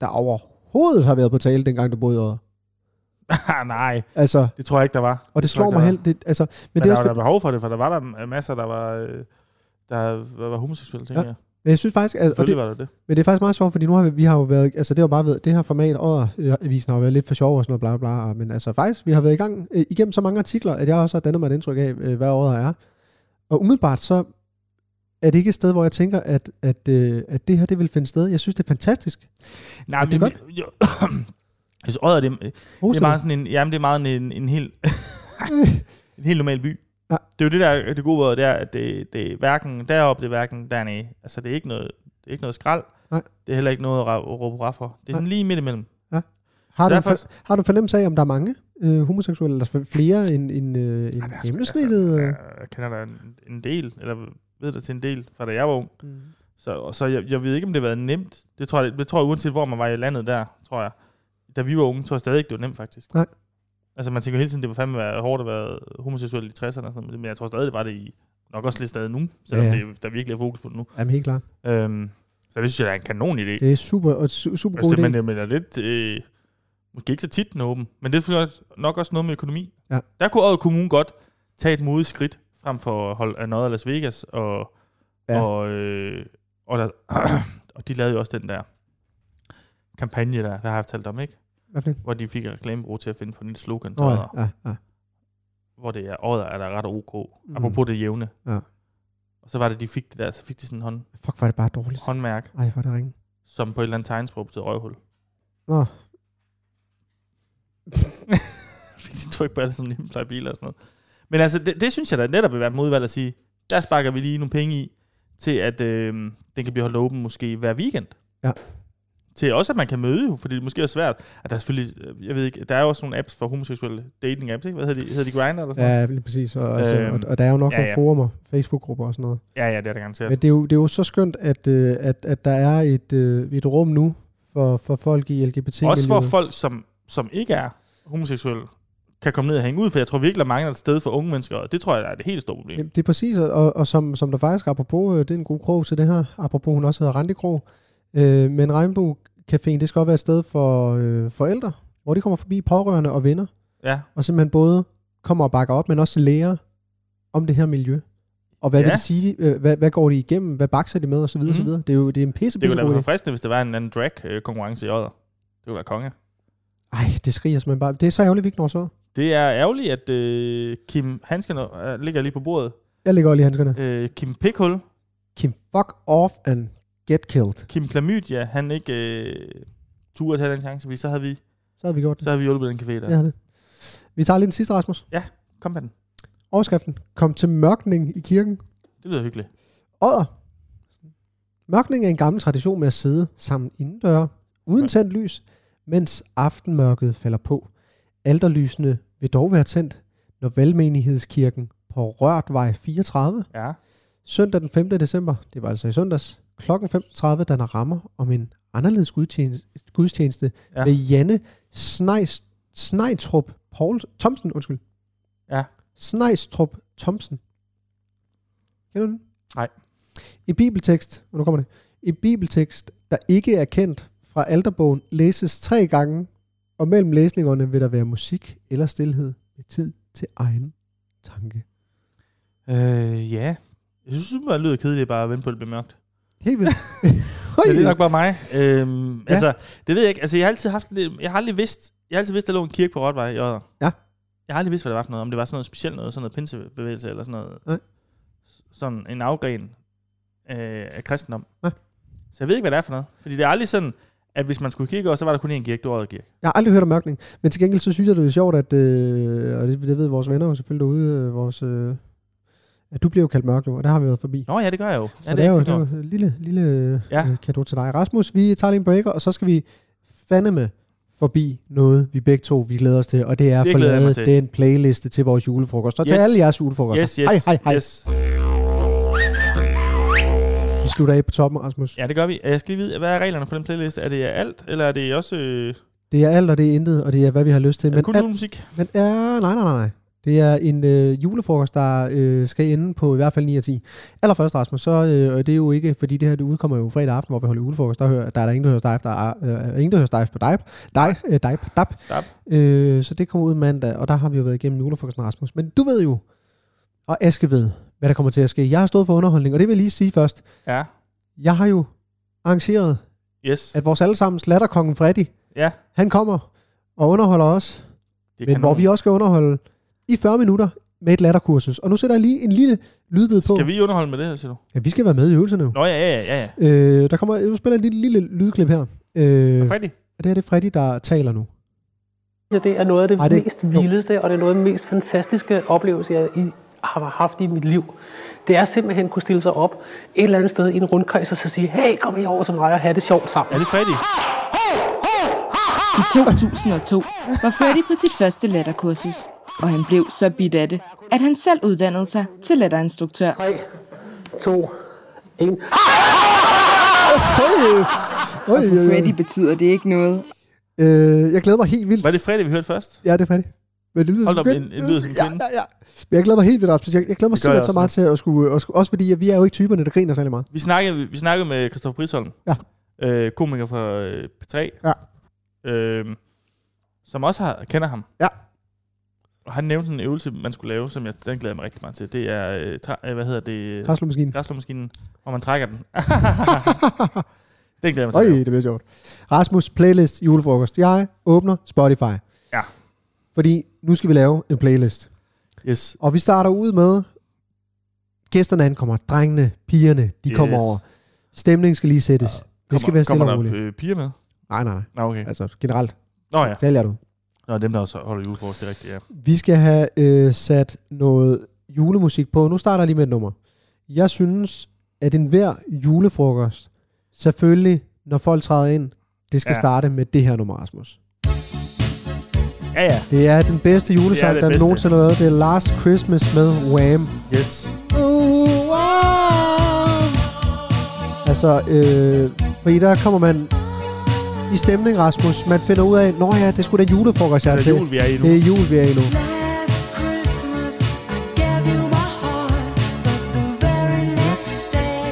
Speaker 1: der overhovedet har været på tale, dengang du boede i Odder.
Speaker 2: Ah, Nej,
Speaker 1: Altså,
Speaker 2: det tror jeg ikke, der var.
Speaker 1: og det
Speaker 2: tror
Speaker 1: slår
Speaker 2: ikke,
Speaker 1: mig
Speaker 2: der
Speaker 1: helt... Det, altså, men,
Speaker 2: Men,
Speaker 1: det er
Speaker 2: der
Speaker 1: også,
Speaker 2: var der behov for det, for der var der masser, der var, øh, der var, var homoseksuelle, tænker
Speaker 1: Ja,
Speaker 2: ja, jeg.
Speaker 1: fordi- men jeg synes faktisk... Altså, og det,
Speaker 2: Selvfølgelig var der det.
Speaker 1: Men det er faktisk meget sjovt, fordi nu har vi, vi har jo været, altså det har jo bare været, det her format og øh, avisen har jo været lidt for sjov og sådan noget, bla bla bla, men altså faktisk, vi har været i gang øh, igennem så mange artikler, at jeg også har dannet mig et indtryk af, øh, hvad året er. Og umiddelbart så er det ikke et sted, hvor jeg tænker, at, at, øh, at det her, det vil finde sted. Jeg synes, det er fantastisk.
Speaker 2: Nej,
Speaker 1: det er
Speaker 2: men- Jo, altså, Odder, det, det er
Speaker 1: Hovedstaden.
Speaker 2: meget sådan en, jamen, det er meget en, en, en helt en helt normal by.
Speaker 1: Ja.
Speaker 2: Ja. Det er jo det der er det gode ved, det er, at det, det er hverken deroppe, det er hverken dernede. Altså, det er ikke noget, det er ikke noget skrald.
Speaker 1: Nej.
Speaker 2: Det er heller ikke noget at ra- at råbe hurra for. Det er sådan lige midt imellem.
Speaker 1: har, du en
Speaker 2: derfor-
Speaker 1: for, har du en fornemmelse af, om der er mange øh, homoseksuelle, eller f- flere end, end, øh, end
Speaker 2: Ej, det er sgu-
Speaker 1: gennemsnittet? øh?
Speaker 2: Altså, jeg- jeg kender der en, en del, eller ved der til en del, fra da jeg var ung.
Speaker 1: Mm.
Speaker 2: Så, og så jeg, jeg ved ikke, om det har været nemt. Det tror, jeg, det tror jeg, uanset hvor man var i landet der, tror jeg. Da vi var unge, tror jeg stadig ikke, det var nemt faktisk.
Speaker 1: Nej.
Speaker 2: Altså man tænker hele tiden, det var fandme være hårdt at være homoseksuel i 60'erne og sådan noget, men jeg tror stadig, det var det i, nok også lidt stadig nu, selvom
Speaker 1: Ja,
Speaker 2: ja,
Speaker 1: ja.
Speaker 2: ja. Det, der virkelig er fokus på det nu.
Speaker 1: Jamen helt klart.
Speaker 2: Øhm, så det synes jeg, der er en kanon idé. Det
Speaker 1: Det er super, og su- super god
Speaker 2: altså, det, men,
Speaker 1: idé.
Speaker 2: det- men det er lidt, øh, måske ikke så tit den er åben, men det er selvfølgelig også, nok også noget med økonomi.
Speaker 1: Ja.
Speaker 2: Der kunne Odder Kommune godt tage et modigt skridt frem for at holde noget af Las Vegas, og,
Speaker 1: Ja.
Speaker 2: ja. og, øh, og, der, og de lavede jo også den der kampagne der, der har jeg fortalt om, ikke?
Speaker 1: Hvad for en?
Speaker 2: Hvor de fik et reklamebureau til at finde på en lille slogan til
Speaker 1: Nå,
Speaker 2: Odder,
Speaker 1: ja, ja, ja.
Speaker 2: hvor det er, Odder er der ret ok,
Speaker 1: Mm.
Speaker 2: mm. apropos det jævne.
Speaker 1: Ja.
Speaker 2: Og så var det, de fik det der, så fik de sådan en hånd,
Speaker 1: Fuck, var det bare dårligt.
Speaker 2: håndmærke,
Speaker 1: Ej, hvor er det ringe.
Speaker 2: som på et eller andet tegnsprog betyder røvhul.
Speaker 1: Nå.
Speaker 2: Fik de tryk på alle sådan hjemmepleje biler og sådan noget. Men altså, det, det synes jeg da netop vil være et modvalg at sige, der sparker vi lige nogle penge i, til at øh, den kan blive holdt åben måske hver weekend.
Speaker 1: Ja.
Speaker 2: Til også, at man kan møde jo, fordi det måske er svært. At der er selvfølgelig, øh, jeg ved ikke, der er jo også nogle apps for homoseksuelle dating apps, ikke? Hvad hedder de? Hedder de Grindr eller sådan noget?
Speaker 1: Ja, lige præcis. Og, altså,
Speaker 2: Øhm,
Speaker 1: og, og der er jo nok ja,
Speaker 2: ja,
Speaker 1: nogle
Speaker 2: ja.
Speaker 1: forumer, Facebook-grupper og sådan noget.
Speaker 2: Ja, ja, det er der
Speaker 1: Ja.
Speaker 2: garanteret.
Speaker 1: Men det er, jo, det er jo så skønt, at, øh, at, at der er et, øh, et rum nu for, for folk i lgbt
Speaker 2: Også for folk, som, som ikke er homoseksuelle, kan komme ned og hænge ud, for jeg tror virkelig, der mangler et sted for unge mennesker, og det tror jeg, der er det helt store problem.
Speaker 1: Jamen, det er præcis, og- og, og som, som der faktisk, apropos, øh, det er en god krog til det her, apropos hun også hedder Randi Krog, øh, men Regnbue Caféen, det skal også være et sted for øh, forældre, hvor de kommer forbi pårørende og venner,
Speaker 2: Ja,
Speaker 1: og simpelthen både kommer og bakker op, men også lærer om det her miljø. Og hvad ja.
Speaker 2: Ja.
Speaker 1: vil det sige? Øh, Hvad, hvad går de igennem? Hvad bakser de med? Og så videre, mm. så
Speaker 2: Mhm.
Speaker 1: videre. Det er jo det er en pisse,
Speaker 2: Det
Speaker 1: pisse
Speaker 2: kunne da
Speaker 1: god
Speaker 2: være
Speaker 1: idé.
Speaker 2: forfriskende, hvis det var en anden drag-konkurrence i året. Det kunne være konge.
Speaker 1: Ej, det skriger simpelthen bare. Det er så ærgerligt, vi ikke når så.
Speaker 2: Det er ærgerligt, at øh, Kim Hansken øh, ligger lige på bordet.
Speaker 1: Jeg lægger også lige handskerne.
Speaker 2: Øh, Kim Pikhul,
Speaker 1: Kim, fuck off and get killed.
Speaker 2: Kim Klamydia, han ikke øh, turde tage den chance, fordi så havde vi,
Speaker 1: Så har vi gjort det.
Speaker 2: så havde vi hjulpet den café der.
Speaker 1: Ja, det. Vi tager lige den sidste, Rasmus.
Speaker 2: Kom med den.
Speaker 1: Overskriften. Kom til mørkning i kirken.
Speaker 2: Det lyder hyggeligt.
Speaker 1: Odder. Mørkning er en gammel tradition med at sidde sammen indendør, uden
Speaker 2: Ja.
Speaker 1: tændt lys, mens aftenmørket falder på. Alterlysene vil dog være tændt, når velmenighedskirken på Rørtvej 34,
Speaker 2: Ja.
Speaker 1: søndag den 5. december, det var altså i søndags, kl. 15.30 danner rammer om en anderledes gudstjeneste, gudstjeneste ja.
Speaker 2: Ja.
Speaker 1: med Janne Snejs, Snejtrup Poul, Thomsen, undskyld.
Speaker 2: Ja.
Speaker 1: Snejstrup Thomsen. Kender du den?
Speaker 2: Nej.
Speaker 1: I bibeltekst, og nu kommer det, i bibeltekst, der ikke er kendt fra alterbogen, læses tre gange, og mellem læsningerne vil der være musik eller stillhed med tid til egen tanke.
Speaker 2: Øh, ja. Jeg synes, det bare lyder kedeligt bare at vente på, at det bliver mørkt.
Speaker 1: Helt vildt.
Speaker 2: Men det er
Speaker 1: Oj.
Speaker 2: nok bare mig. Øhm, ja. Altså, det ved jeg ikke. Altså, jeg har altid haft lidt, jeg har aldrig vidst, jeg har altid vidst, der lå en kirke på Rotvej i Odder.
Speaker 1: Ja.
Speaker 2: Jeg har aldrig vidst, hvad det var for noget. Om det var sådan noget specielt noget, sådan noget pinsebevægelse eller sådan noget.
Speaker 1: Nej.
Speaker 2: Sådan en afgren øh, af kristendom.
Speaker 1: Nej.
Speaker 2: Så jeg ved ikke, hvad det er for noget. Fordi det er aldrig sådan, at hvis man skulle kigge over, så var der kun én kirke, du kirke.
Speaker 1: Jeg har aldrig hørt om mørkning, men til gengæld så synes jeg, det er sjovt, at, øh, og det, det ved vores venner jo selvfølgelig derude, øh, vores, øh, at du bliver jo kaldt mørk nu, og der har vi været forbi.
Speaker 2: Nå ja, det gør jeg jo. Ja,
Speaker 1: så det er, jo, det
Speaker 2: sådan
Speaker 1: er
Speaker 2: noget.
Speaker 1: jo en lille, lille ja.
Speaker 2: Ja.
Speaker 1: øh, kado til dig. Rasmus, vi tager lige en breaker, og så skal vi fandeme forbi noget, vi begge to vi glæder os til, og det er at
Speaker 2: Det glæder jeg
Speaker 1: forlade
Speaker 2: mig til.
Speaker 1: den playliste til vores julefrokost. Så til
Speaker 2: Yes.
Speaker 1: alle jeres julefrokoster.
Speaker 2: Yes, yes,
Speaker 1: hej, hej, hej.
Speaker 2: yes.
Speaker 1: Vi slutter af på toppen, Rasmus. Ja.
Speaker 2: Ja, det gør vi. Jeg skal lige vide, hvad er reglerne for den playlist? Er det alt, eller er det også øh,
Speaker 1: Det er alt, og det er intet, og det er, hvad vi har lyst til.
Speaker 2: men,
Speaker 1: Men
Speaker 2: kun
Speaker 1: alt-
Speaker 2: julemusik?
Speaker 1: Men ja, nej, nej, nej, nej. Det er en øh, julefrokost, der øh, skal ende på i hvert fald 9 og 10. Allerførst, Rasmus, så øh, og det er jo ikke, fordi det her det udkommer jo fredag aften, hvor vi holder julefrokost. Der, hører, der er der ingen, der hører dive, der er, øh, er ingen, der hører dive på dive. Dig, øh, dive, dab.
Speaker 2: Dab.
Speaker 1: Øh, så det kommer ud mandag, og der har vi jo været igennem julefrokosten, Rasmus. Men du ved jo, og Aske ved, hvad der kommer til at ske. Jeg har stået for underholdning, og det vil jeg lige sige først.
Speaker 2: Ja.
Speaker 1: Jeg har jo arrangeret,
Speaker 2: Yes.
Speaker 1: at vores allesammens latterkongen Freddy,
Speaker 2: Ja.
Speaker 1: han kommer og underholder os
Speaker 2: Det
Speaker 1: men
Speaker 2: kan
Speaker 1: hvor
Speaker 2: man.
Speaker 1: vi også skal underholde i 40 minutter med et latterkursus. Og nu sætter jeg lige en lille lydbid på.
Speaker 2: Skal vi underholde med det her, siger du?
Speaker 1: Ja, vi skal være med i øvelserne jo.
Speaker 2: Nå ja, ja, ja. ja.
Speaker 1: Øh, der kommer, jeg spiller et lille, lille lydklip her. Øh,
Speaker 2: Freddy?
Speaker 1: og det her det er Freddy, der taler nu.
Speaker 3: Ja, Det er noget af det,
Speaker 1: Ej,
Speaker 3: Ej,
Speaker 1: det-
Speaker 3: det mest vildeste, og det er noget af den mest fantastiske oplevelse, jeg i, har haft i mit liv. Det er simpelthen at kunne stille sig op et eller andet sted i en rundkreds og så sige, hey, kom her over til mig og have det sjovt sammen.
Speaker 2: Er det Freddy?
Speaker 1: Ah!
Speaker 4: I 2002 var Freddy på sit første latterkursus, og han blev så bidt af det, at han selv uddannede sig til latterinstruktør.
Speaker 3: 3, 2, 1.
Speaker 1: Øj, øj, øj.
Speaker 4: Freddy betyder det ikke noget,
Speaker 1: Øh, jeg glæder mig helt vildt.
Speaker 2: Var det Freddy, vi hørte først?
Speaker 1: Ja, det er Freddy. Men det lyder
Speaker 2: Hold
Speaker 1: som
Speaker 2: op,
Speaker 1: kvinde.
Speaker 2: en- en lyd som
Speaker 1: ja,
Speaker 2: kvinde.
Speaker 1: ja, ja. Men jeg glæder mig helt vildt, Rasmus. Jeg, jeg glæder mig
Speaker 2: Det gør
Speaker 1: simpelthen
Speaker 2: jeg
Speaker 1: så meget til at skulle, øh, at skulle... Også fordi, at vi er jo ikke typerne, der griner særlig meget.
Speaker 2: Vi snakkede, vi snakkede med Christoffer Prisholm,
Speaker 1: Ja.
Speaker 2: øh, komiker fra øh, P3,
Speaker 1: Ja.
Speaker 2: øh, som også har, kender ham.
Speaker 1: Ja.
Speaker 2: Og han nævnte en øvelse, man skulle lave, som jeg den glæder jeg mig rigtig meget til. Det er, øh, tra- øh, hvad hedder det?
Speaker 1: Kraslo-maskinen.
Speaker 2: Græslåmaskinen, hvor man trækker den. den glæder jeg mig til.
Speaker 1: Øj,
Speaker 2: at lave.
Speaker 1: det bliver sjovt. Rasmus, playlist, julefrokost. Jeg åbner Spotify.
Speaker 2: Ja.
Speaker 1: Fordi nu skal vi lave en playlist.
Speaker 2: Yes.
Speaker 1: Og vi starter ud med, gæsterne ankommer, drengene, pigerne, de yes.
Speaker 2: Yes.
Speaker 1: kommer over. Stemningen skal lige sættes. Ja, det skal være stille
Speaker 2: kommer
Speaker 1: og
Speaker 2: der
Speaker 1: roligt.
Speaker 2: øh, piger med?
Speaker 1: Nej, nej, nej.
Speaker 2: Nå, okay.
Speaker 1: Altså generelt.
Speaker 2: Nå ja.
Speaker 1: Tal jer du.
Speaker 2: Nå, dem der også holder julefrokost, det er rigtigt, ja.
Speaker 1: Vi skal have øh, sat noget julemusik på. Nu starter jeg lige med et nummer. Jeg synes, at enhver julefrokost, selvfølgelig, når folk træder ind, det skal ja.
Speaker 2: Ja.
Speaker 1: starte med det her nummer, Rasmus.
Speaker 2: Ja, ja.
Speaker 1: Det er den bedste julesang,
Speaker 2: det
Speaker 1: der
Speaker 2: bedste.
Speaker 1: nogensinde har været. Det er Last Christmas med Wham.
Speaker 2: Yes.
Speaker 1: Altså, øh, fordi der kommer man i stemning, Rasmus. Man finder ud af, nå ja, det skulle da julefrokost, jeg er
Speaker 2: Det er
Speaker 1: til.
Speaker 2: jul, vi er i nu.
Speaker 1: Det er jul, vi er i nu.
Speaker 5: Last Christmas I gave you my heart, but the very next day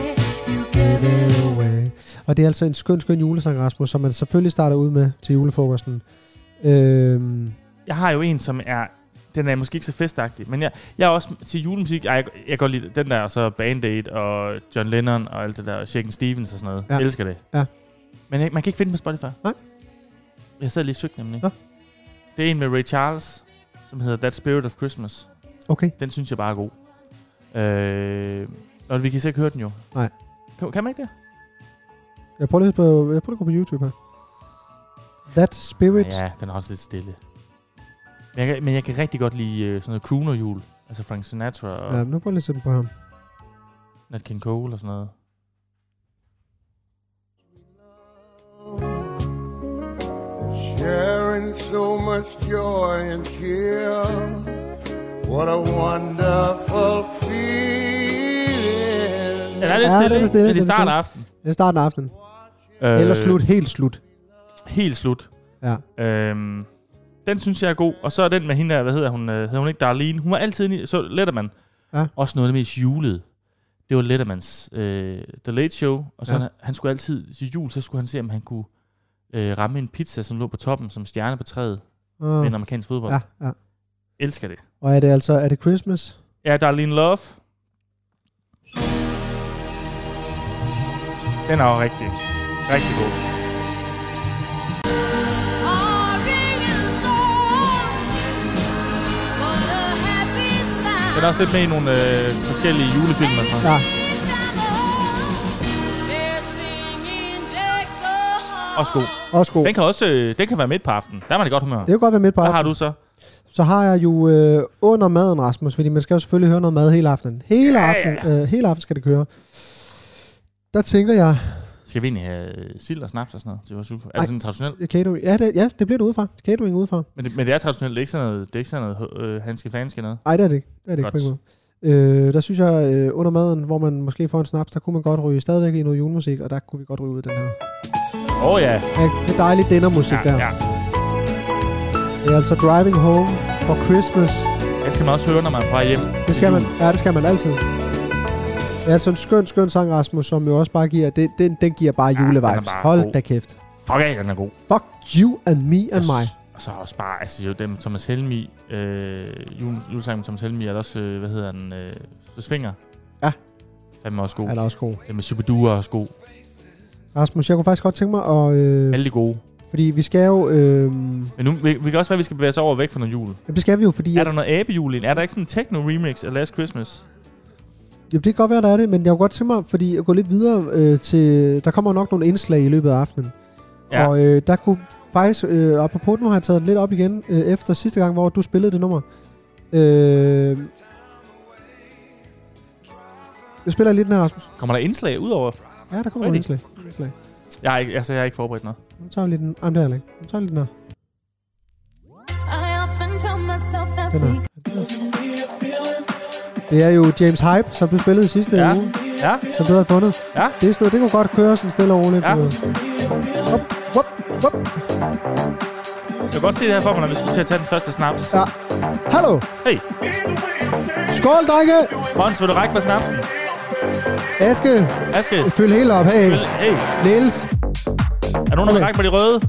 Speaker 5: you gave it away.
Speaker 1: Og det er altså en skøn, skøn julesang, Rasmus, som man selvfølgelig starter ud med til julefrokosten. Øhm,
Speaker 2: Jeg har jo en, som er... den er måske ikke så festagtig, men jeg, jeg er også til julemusik, ej, jeg, jeg kan godt lide den der, og så Band Aid, og John Lennon, og alt det der, og Shaken Stevens og sådan noget.
Speaker 1: Ja.
Speaker 2: Ja. Jeg elsker det.
Speaker 1: Ja.
Speaker 2: Men jeg, man kan ikke finde den på Spotify.
Speaker 1: Nej.
Speaker 2: Jeg sad lige og søgte nemlig.
Speaker 1: Nå.
Speaker 2: Det er en med Ray Charles, som hedder That Spirit of Christmas.
Speaker 1: Okay.
Speaker 2: Den synes jeg bare er god. Øh, og vi kan sikkert høre den jo.
Speaker 1: Nej.
Speaker 2: Kan, kan man ikke det?
Speaker 1: Jeg prøver lige på, jeg prøver at gå på YouTube her. That Spirit. Ja.
Speaker 2: Ja, den er også lidt stille. Men jeg, kan, men jeg kan rigtig godt lide øh, sådan noget crooner-jul. Altså Frank Sinatra og
Speaker 1: ja
Speaker 2: ja.
Speaker 1: nu prøver jeg lige at sætte den på ham.
Speaker 2: Nat King Cole og sådan noget.
Speaker 6: sharing so much joy and cheer. What a wonderful feeling.
Speaker 2: Ja, der er
Speaker 1: Ja,
Speaker 2: lidt stille,
Speaker 1: den er
Speaker 2: ja,
Speaker 1: stille,
Speaker 2: men
Speaker 1: den
Speaker 2: det
Speaker 1: er
Speaker 2: starter
Speaker 1: stille.
Speaker 2: aften.
Speaker 1: Det er starten af aftenen.
Speaker 2: Øh,
Speaker 1: Eller slut, helt slut.
Speaker 2: Helt slut.
Speaker 1: Ja.
Speaker 2: Øhm, den synes jeg er god. Og så er den med hende der, hvad hedder hun? Øh, hedder hun ikke Darlene? Hun var altid inde i, så Letterman.
Speaker 1: Ja.
Speaker 2: Også noget af det mest julede. Det var Lettermans øh, The Late Show. Og så
Speaker 1: Ja.
Speaker 2: ja. han, han skulle altid til jul, så skulle han se, om han kunne øh, ramme en pizza, som lå på toppen, som stjerne på træet
Speaker 1: Uh,
Speaker 2: med en amerikansk fodbold.
Speaker 1: ja,
Speaker 2: Ja.
Speaker 1: ja.
Speaker 2: Elsker det.
Speaker 1: Og er det altså, er det Christmas?
Speaker 2: Ja, Darlene Love. Den er jo rigtig, rigtig god. Den er også lidt med i nogle øh, forskellige julefilmer. tror jeg.
Speaker 1: Ja.
Speaker 2: Også god.
Speaker 1: Også god.
Speaker 2: Den kan også øh, den kan være midt på aftenen. Der er man i godt humør.
Speaker 1: Det kan godt være midt på
Speaker 2: Hvad har
Speaker 1: aftenen.
Speaker 2: du så?
Speaker 1: Så har jeg jo øh, under maden, Rasmus, fordi man skal jo selvfølgelig høre noget mad hele aftenen. Hele aftenen, øh, hele aftenen skal det køre. Der tænker jeg,
Speaker 2: Skal vi egentlig have øh, sild og snaps og sådan noget? Det var super. Er
Speaker 1: Ej.
Speaker 2: det sådan traditionelt?
Speaker 1: catering, ja, det, ja, det bliver det udefra. Catering udefra.
Speaker 2: Men det, men det er traditionelt. Det er ikke sådan noget, det er ikke sådan noget øh, hanske fanske noget.
Speaker 1: Ej, det er det ikke. Det er det ikke på
Speaker 2: Godt.
Speaker 1: ingen måde. Øh, der synes jeg, øh, under maden, hvor man måske får en snaps, der kunne man godt ryge stadigvæk i noget julemusik, og der kunne vi godt ryge ud af den her.
Speaker 2: Åh oh, ja.
Speaker 1: Ja, det er dejligt dinnermusik
Speaker 2: ja,
Speaker 1: ja, der.
Speaker 2: ja.
Speaker 1: Ja. Det er altså Driving Home for Christmas.
Speaker 2: Den skal man også høre, når man er på vej hjem.
Speaker 1: Det skal man. Ja, det skal man altid. Det er altså en skøn, skøn sang, Rasmus, som jo også bare giver... Det, den, den giver bare
Speaker 2: Ja, den
Speaker 1: julevibes.
Speaker 2: er bare
Speaker 1: Hold
Speaker 2: god.
Speaker 1: da kæft.
Speaker 2: Fuck af, den er god.
Speaker 1: Fuck you and me and
Speaker 2: Og
Speaker 1: my.
Speaker 2: s- Og så også bare, altså jo, dem Thomas Helmi, øh, jule, julesangen med Thomas Helmi, er der også, øh, hvad hedder den, øh, Svinger.
Speaker 1: Ja.
Speaker 2: Fandme også god.
Speaker 1: Er der også god.
Speaker 2: Den med Superdure er også god.
Speaker 1: Rasmus, jeg kunne faktisk godt tænke mig at... Øh,
Speaker 2: Alle de gode.
Speaker 1: fordi vi skal jo... Øh,
Speaker 2: Men nu, vi, vi kan også være, at vi skal bevæge os over og væk fra noget jul.
Speaker 1: jamen, det skal vi jo, fordi...
Speaker 2: Er der noget abejul i den? Er der ikke sådan en techno-remix af Last Christmas?
Speaker 1: Jamen, det kan godt være, der er det, men jeg kunne godt tænke mig, fordi at gå lidt videre øh, til... Der kommer nok nogle indslag i løbet af aftenen.
Speaker 2: Ja.
Speaker 1: Og øh, der kunne faktisk... Øh, apropos, nu har jeg taget den lidt op igen, øh, efter sidste gang, hvor du spillede det nummer. Øh, jeg spiller lidt den her, Rasmus.
Speaker 2: Kommer der indslag ud over?
Speaker 1: Ja, der kommer
Speaker 2: Rigtig.
Speaker 1: nogle indslag. indslag.
Speaker 2: Jeg har ikke, altså, jeg har ikke forberedt noget.
Speaker 1: Nu tager vi lidt den... Jamen, det er heller ikke. Nu tager vi lidt den her. Den her. Det er jo James Hype, som du spillede sidste
Speaker 2: Ja.
Speaker 1: uge,
Speaker 2: Ja,
Speaker 1: som du havde fundet.
Speaker 2: ja.
Speaker 1: Det, stod, det kunne godt køre sådan stille og roligt.
Speaker 2: Ja.
Speaker 1: du ved. Hop, hop, hop.
Speaker 2: Jeg kan godt se det her for mig, når vi skulle til at tage den første snaps.
Speaker 1: Ja. Hallo.
Speaker 2: Hey,
Speaker 1: Skål, drenge.
Speaker 2: Måns, vil du række mig snapsen?
Speaker 1: Aske,
Speaker 2: Aske,
Speaker 1: fyld helt op. Hey,
Speaker 2: hey,
Speaker 1: Niels.
Speaker 2: er nogen, der vil
Speaker 1: Okay.
Speaker 2: række mig de røde?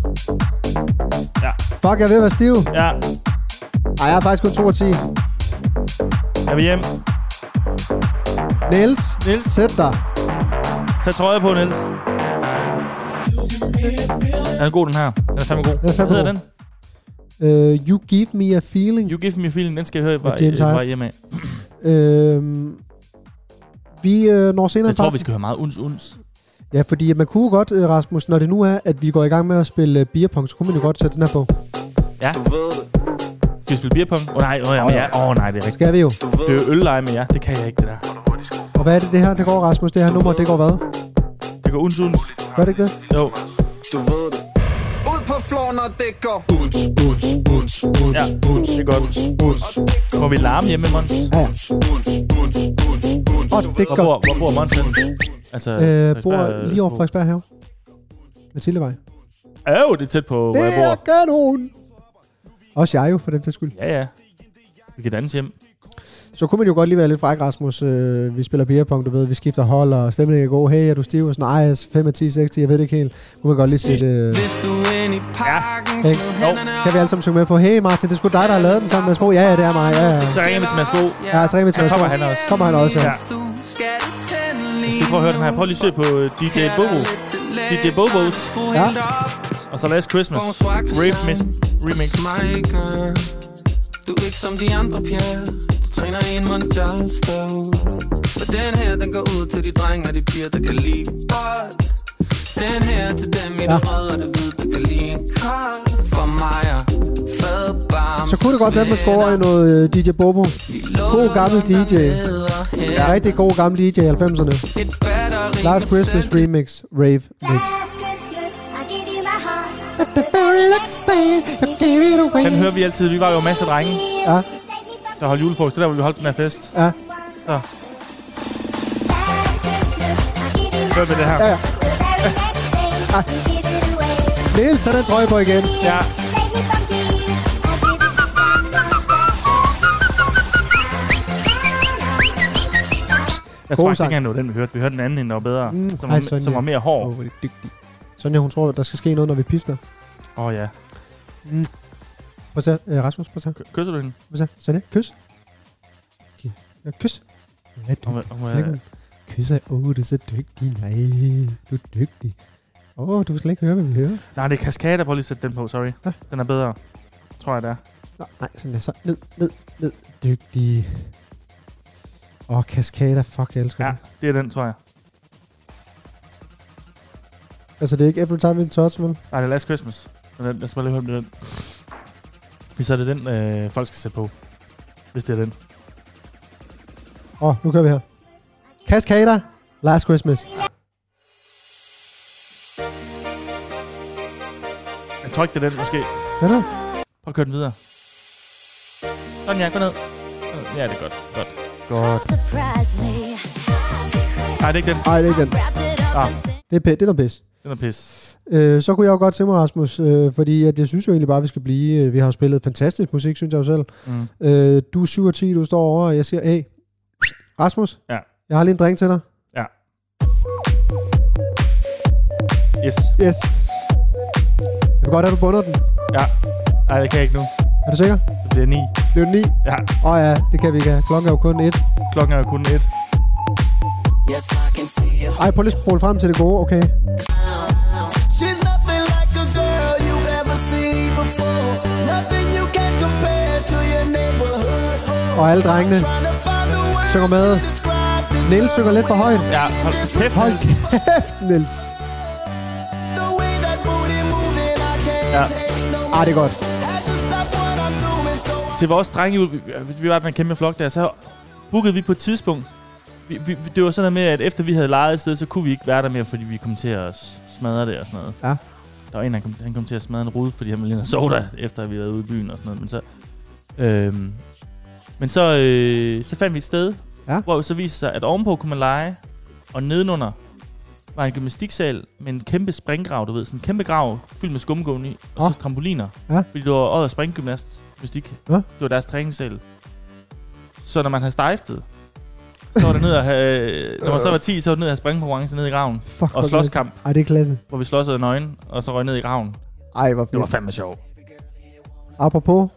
Speaker 2: Ja,
Speaker 1: Fuck, jeg er ved at være stiv.
Speaker 2: ja,
Speaker 1: Ej, jeg er faktisk kun 2 og 10.
Speaker 2: jeg vil hjem.
Speaker 1: Niels,
Speaker 2: Niels.
Speaker 1: sæt dig.
Speaker 2: Tag trøje på, Niels. Den er god, den her. Den er fandme god.
Speaker 1: Den er fandme
Speaker 2: Hvad hedder
Speaker 1: god.
Speaker 2: den?
Speaker 1: Uh, you give me a feeling.
Speaker 2: You Give Me a Feeling. Den skal jeg høre
Speaker 1: Med James
Speaker 2: bare
Speaker 1: Hype.
Speaker 2: hjemme af.
Speaker 1: Øhm, vi øh, når senere
Speaker 2: Jeg
Speaker 1: på
Speaker 2: tror, vi
Speaker 1: aftenen-
Speaker 2: skal høre meget uns, uns.
Speaker 1: Ja, fordi man kunne jo godt, øh, Rasmus, når det nu er, at vi går i gang med at spille øh, beer pong, så kunne man jo godt sætte den her på.
Speaker 6: Du ved det,
Speaker 2: Skal vi spille beerpong? Åh oh, nej, åh oh, ja, men ja. oh, nej, det er rigtigt.
Speaker 1: Skal vi jo.
Speaker 6: du ved
Speaker 2: Det er jo øllege med jer. Det kan jeg ikke, det der.
Speaker 1: Og hvad er det, det her, det går, Rasmus? Det her nummer, det går hvad?
Speaker 2: Det går uns, uns.
Speaker 1: Gør det ikke det?
Speaker 2: Jo.
Speaker 6: du ved det. Ud på floor, når det går. Buns, buns, buns, buns,
Speaker 2: Ja,
Speaker 6: buns,
Speaker 2: det er godt.
Speaker 6: buns,
Speaker 2: Må vi larme hjemme med Mons?
Speaker 1: Ja, ja.
Speaker 6: buns, buns, buns, buns.
Speaker 1: Og det
Speaker 2: Hvor
Speaker 1: går.
Speaker 2: bor, hvor bor Mons henne? Altså,
Speaker 1: Øh, bor
Speaker 2: Frederiksberg,
Speaker 1: lige over
Speaker 2: øh,
Speaker 1: Frederiksberg have. Matildevej.
Speaker 2: Øv, det er tæt på, hvor jeg
Speaker 1: Det
Speaker 2: bor.
Speaker 1: er kanon! Også jeg jo, for den sags skyld.
Speaker 2: Ja, ja. Vi kan danse hjem.
Speaker 1: Så kunne man jo godt lige være lidt fræk, Rasmus. Øh, vi spiller beerpong, du ved, vi skifter hold, og stemningen er god. Hey, er du stiv? Og sådan, nej, 5 af 10, 6, 10, jeg ved det ikke helt. Kunne man godt lige sætte... Øh,
Speaker 5: Hvis du er inde i parken,
Speaker 1: Ja.
Speaker 5: slå
Speaker 1: Jo.
Speaker 5: hænderne
Speaker 1: kan vi altså alle sammen synge med på, hey Martin, det er sgu dig, der har lavet den sammen med små. Ja, ja, det er mig, ja, ja.
Speaker 2: Så ringer vi til Mads Bo.
Speaker 1: Ja, så ringer vi til
Speaker 2: Så
Speaker 1: Mads Bo.
Speaker 2: kommer han også.
Speaker 1: Kommer han også, ja.
Speaker 2: Ja.
Speaker 5: Du skal det tænde lige
Speaker 2: Så prøv at høre den her. Prøv lige at søg på øh, DJ Bobo. DJ Bobos.
Speaker 1: Ja.
Speaker 2: Og så Last Christmas. Rave Miss Remix.
Speaker 5: mig gør. Du er ikke som de andre piger Du træner i en mondial stav For den her, den går ud til de drenge og de piger, der kan lide bold Den her til dem i
Speaker 1: Ja.
Speaker 5: det røde og det hvide, der kan lide en kold For mig og fadbarm
Speaker 1: Så kunne det godt være, at man skulle over i noget øh, DJ Bobo. God gammel DJ. Ja. Rigtig god gammel DJ i 90'erne.
Speaker 5: Et batteri
Speaker 1: Last Christmas Remix, Rave Mix.
Speaker 2: Den hører vi altid. Vi var jo masser af drenge,
Speaker 1: Ja,
Speaker 2: der holdt julefrokost. Det er der, hvor vi holdt den her fest.
Speaker 1: ja,
Speaker 2: Så. Hør vi det her?
Speaker 1: ja. ja. Niels har den trøje på igen.
Speaker 2: Ja. Jeg tror
Speaker 1: God
Speaker 2: faktisk
Speaker 1: sang.
Speaker 2: ikke engang, det var den, vi hørte. Vi hørte den anden, end der var bedre. Mm,
Speaker 1: Hej,
Speaker 2: som, var,
Speaker 1: Sonja.
Speaker 2: som var mere hård.
Speaker 1: Åh, hvor er det dygtig. Sonja, hun tror, der skal ske noget, når vi pifter.
Speaker 2: Åh oh, ja.
Speaker 1: Prøv at se, øh, Rasmus, prøv at se.
Speaker 2: K- Kysser du hende?
Speaker 1: Hvad så? Sonja, kys. Giv- Ja, kys. Ja,
Speaker 2: Om,
Speaker 1: du,
Speaker 2: om,
Speaker 1: slik mig. Kys er, åh, du er så dygtig. Nej, du er dygtig. Åh, du kan slet ikke høre, hvad vi hører.
Speaker 2: nej, det er Cascada. Prøv lige at sætte den på, sorry.
Speaker 1: Ja.
Speaker 2: Den er bedre. Tror jeg, det er.
Speaker 1: Nå, nej, sådan der. Så ned, ned, ned. Dygtig. Åh, kaskader. Fuck, jeg elsker
Speaker 2: Ja,
Speaker 1: ja. det.
Speaker 2: det er den, tror jeg.
Speaker 1: Altså, det er ikke every time in touch, vel?
Speaker 2: Nej, det er Last Christmas. Men den, lad os bare lige høre, om det er den. Hvis er det den, øh, folk skal sætte på. Hvis det er den.
Speaker 1: Åh, nu kører vi her. Kaskader. Last Christmas.
Speaker 2: Jeg tror ikke, det er den, måske.
Speaker 1: Hvad er det?
Speaker 2: Prøv at køre den videre. Sådan, ja. Gå ned. Ja, det er godt. Godt. Godt. Nej, det er ikke den.
Speaker 1: Ej, det er ikke den.
Speaker 2: Ah,
Speaker 1: Det er, pæ- det er noget pis.
Speaker 2: den er pis.
Speaker 1: Øh, så kunne jeg jo godt tænke mig, Rasmus, øh, fordi at jeg synes jo egentlig bare, at vi skal blive. øh, Vi har jo spillet fantastisk musik, synes jeg jo selv.
Speaker 2: Mm.
Speaker 1: Øh, du er 7 og 10, du står over, og jeg siger, hey, Rasmus,
Speaker 2: Ja.
Speaker 1: jeg har lige en drink til dig.
Speaker 2: Ja. Yes.
Speaker 1: Yes. Jeg vil godt have, du bunder den.
Speaker 2: Ja. Nej, det kan jeg ikke nu.
Speaker 1: Er du sikker?
Speaker 2: Så bliver jeg 9.
Speaker 1: Det er jo 9.
Speaker 2: Ja,
Speaker 1: Åh oh, ja, det kan vi ikke have. Klokken er jo kun 1.
Speaker 2: klokken er jo kun 1.
Speaker 1: Ej, prøv lige at spole frem til det gode, okay?
Speaker 5: She's nothing like a girl you've ever seen before. Nothing you can compare to your neighborhood.
Speaker 1: Og alle drengene
Speaker 5: Trying to find the words
Speaker 1: synger med.
Speaker 5: to describe this
Speaker 1: Niels synger lidt for højt.
Speaker 2: Ja, hold kæft.
Speaker 1: Hold kæft, Niels.
Speaker 5: The way that booty moving, I can't
Speaker 2: Ja.
Speaker 5: take no
Speaker 1: Ej, det er godt.
Speaker 5: Had to stop what I'm doing, so I
Speaker 2: Til vores drengehjul, vi, vi var den kæmpe flok der, så bookede vi på et tidspunkt. Vi, vi, vi- det var sådan noget med, at efter vi havde lejet et sted, så kunne vi ikke være der mere, fordi vi kom til at s- smadre det og sådan noget.
Speaker 1: Ja.
Speaker 2: Der var en, han kom, han kom til at smadre en rude, fordi han ville ind og sove der, efter vi havde ude i byen og sådan noget. Men så, øhm, men så, øh, så fandt vi et sted,
Speaker 1: Ja.
Speaker 2: hvor så viste sig, at ovenpå kunne man lege, og nedenunder var en gymnastiksal med en kæmpe springgrav, du ved. Sådan en kæmpe grav fyldt med skumgummi og
Speaker 1: Åh.
Speaker 2: så trampoliner.
Speaker 1: Ja.
Speaker 2: Fordi det var året springgymnast, mystik.
Speaker 1: Nå.
Speaker 2: Det var deres træningssal. Så når man havde stejftet, så var det ned at have, øh, når man så var 10, så var det ned at have springkonkurrence ned i graven.
Speaker 1: Fuck, hvor
Speaker 2: Og
Speaker 1: er det
Speaker 2: slåskamp,
Speaker 1: klasse. Ej, det er klasse.
Speaker 2: hvor vi slåsede af nøgen, og så røg ned i graven.
Speaker 1: Ej, hvor
Speaker 2: Det var
Speaker 1: fedt.
Speaker 2: fandme sjovt.
Speaker 1: Apropos,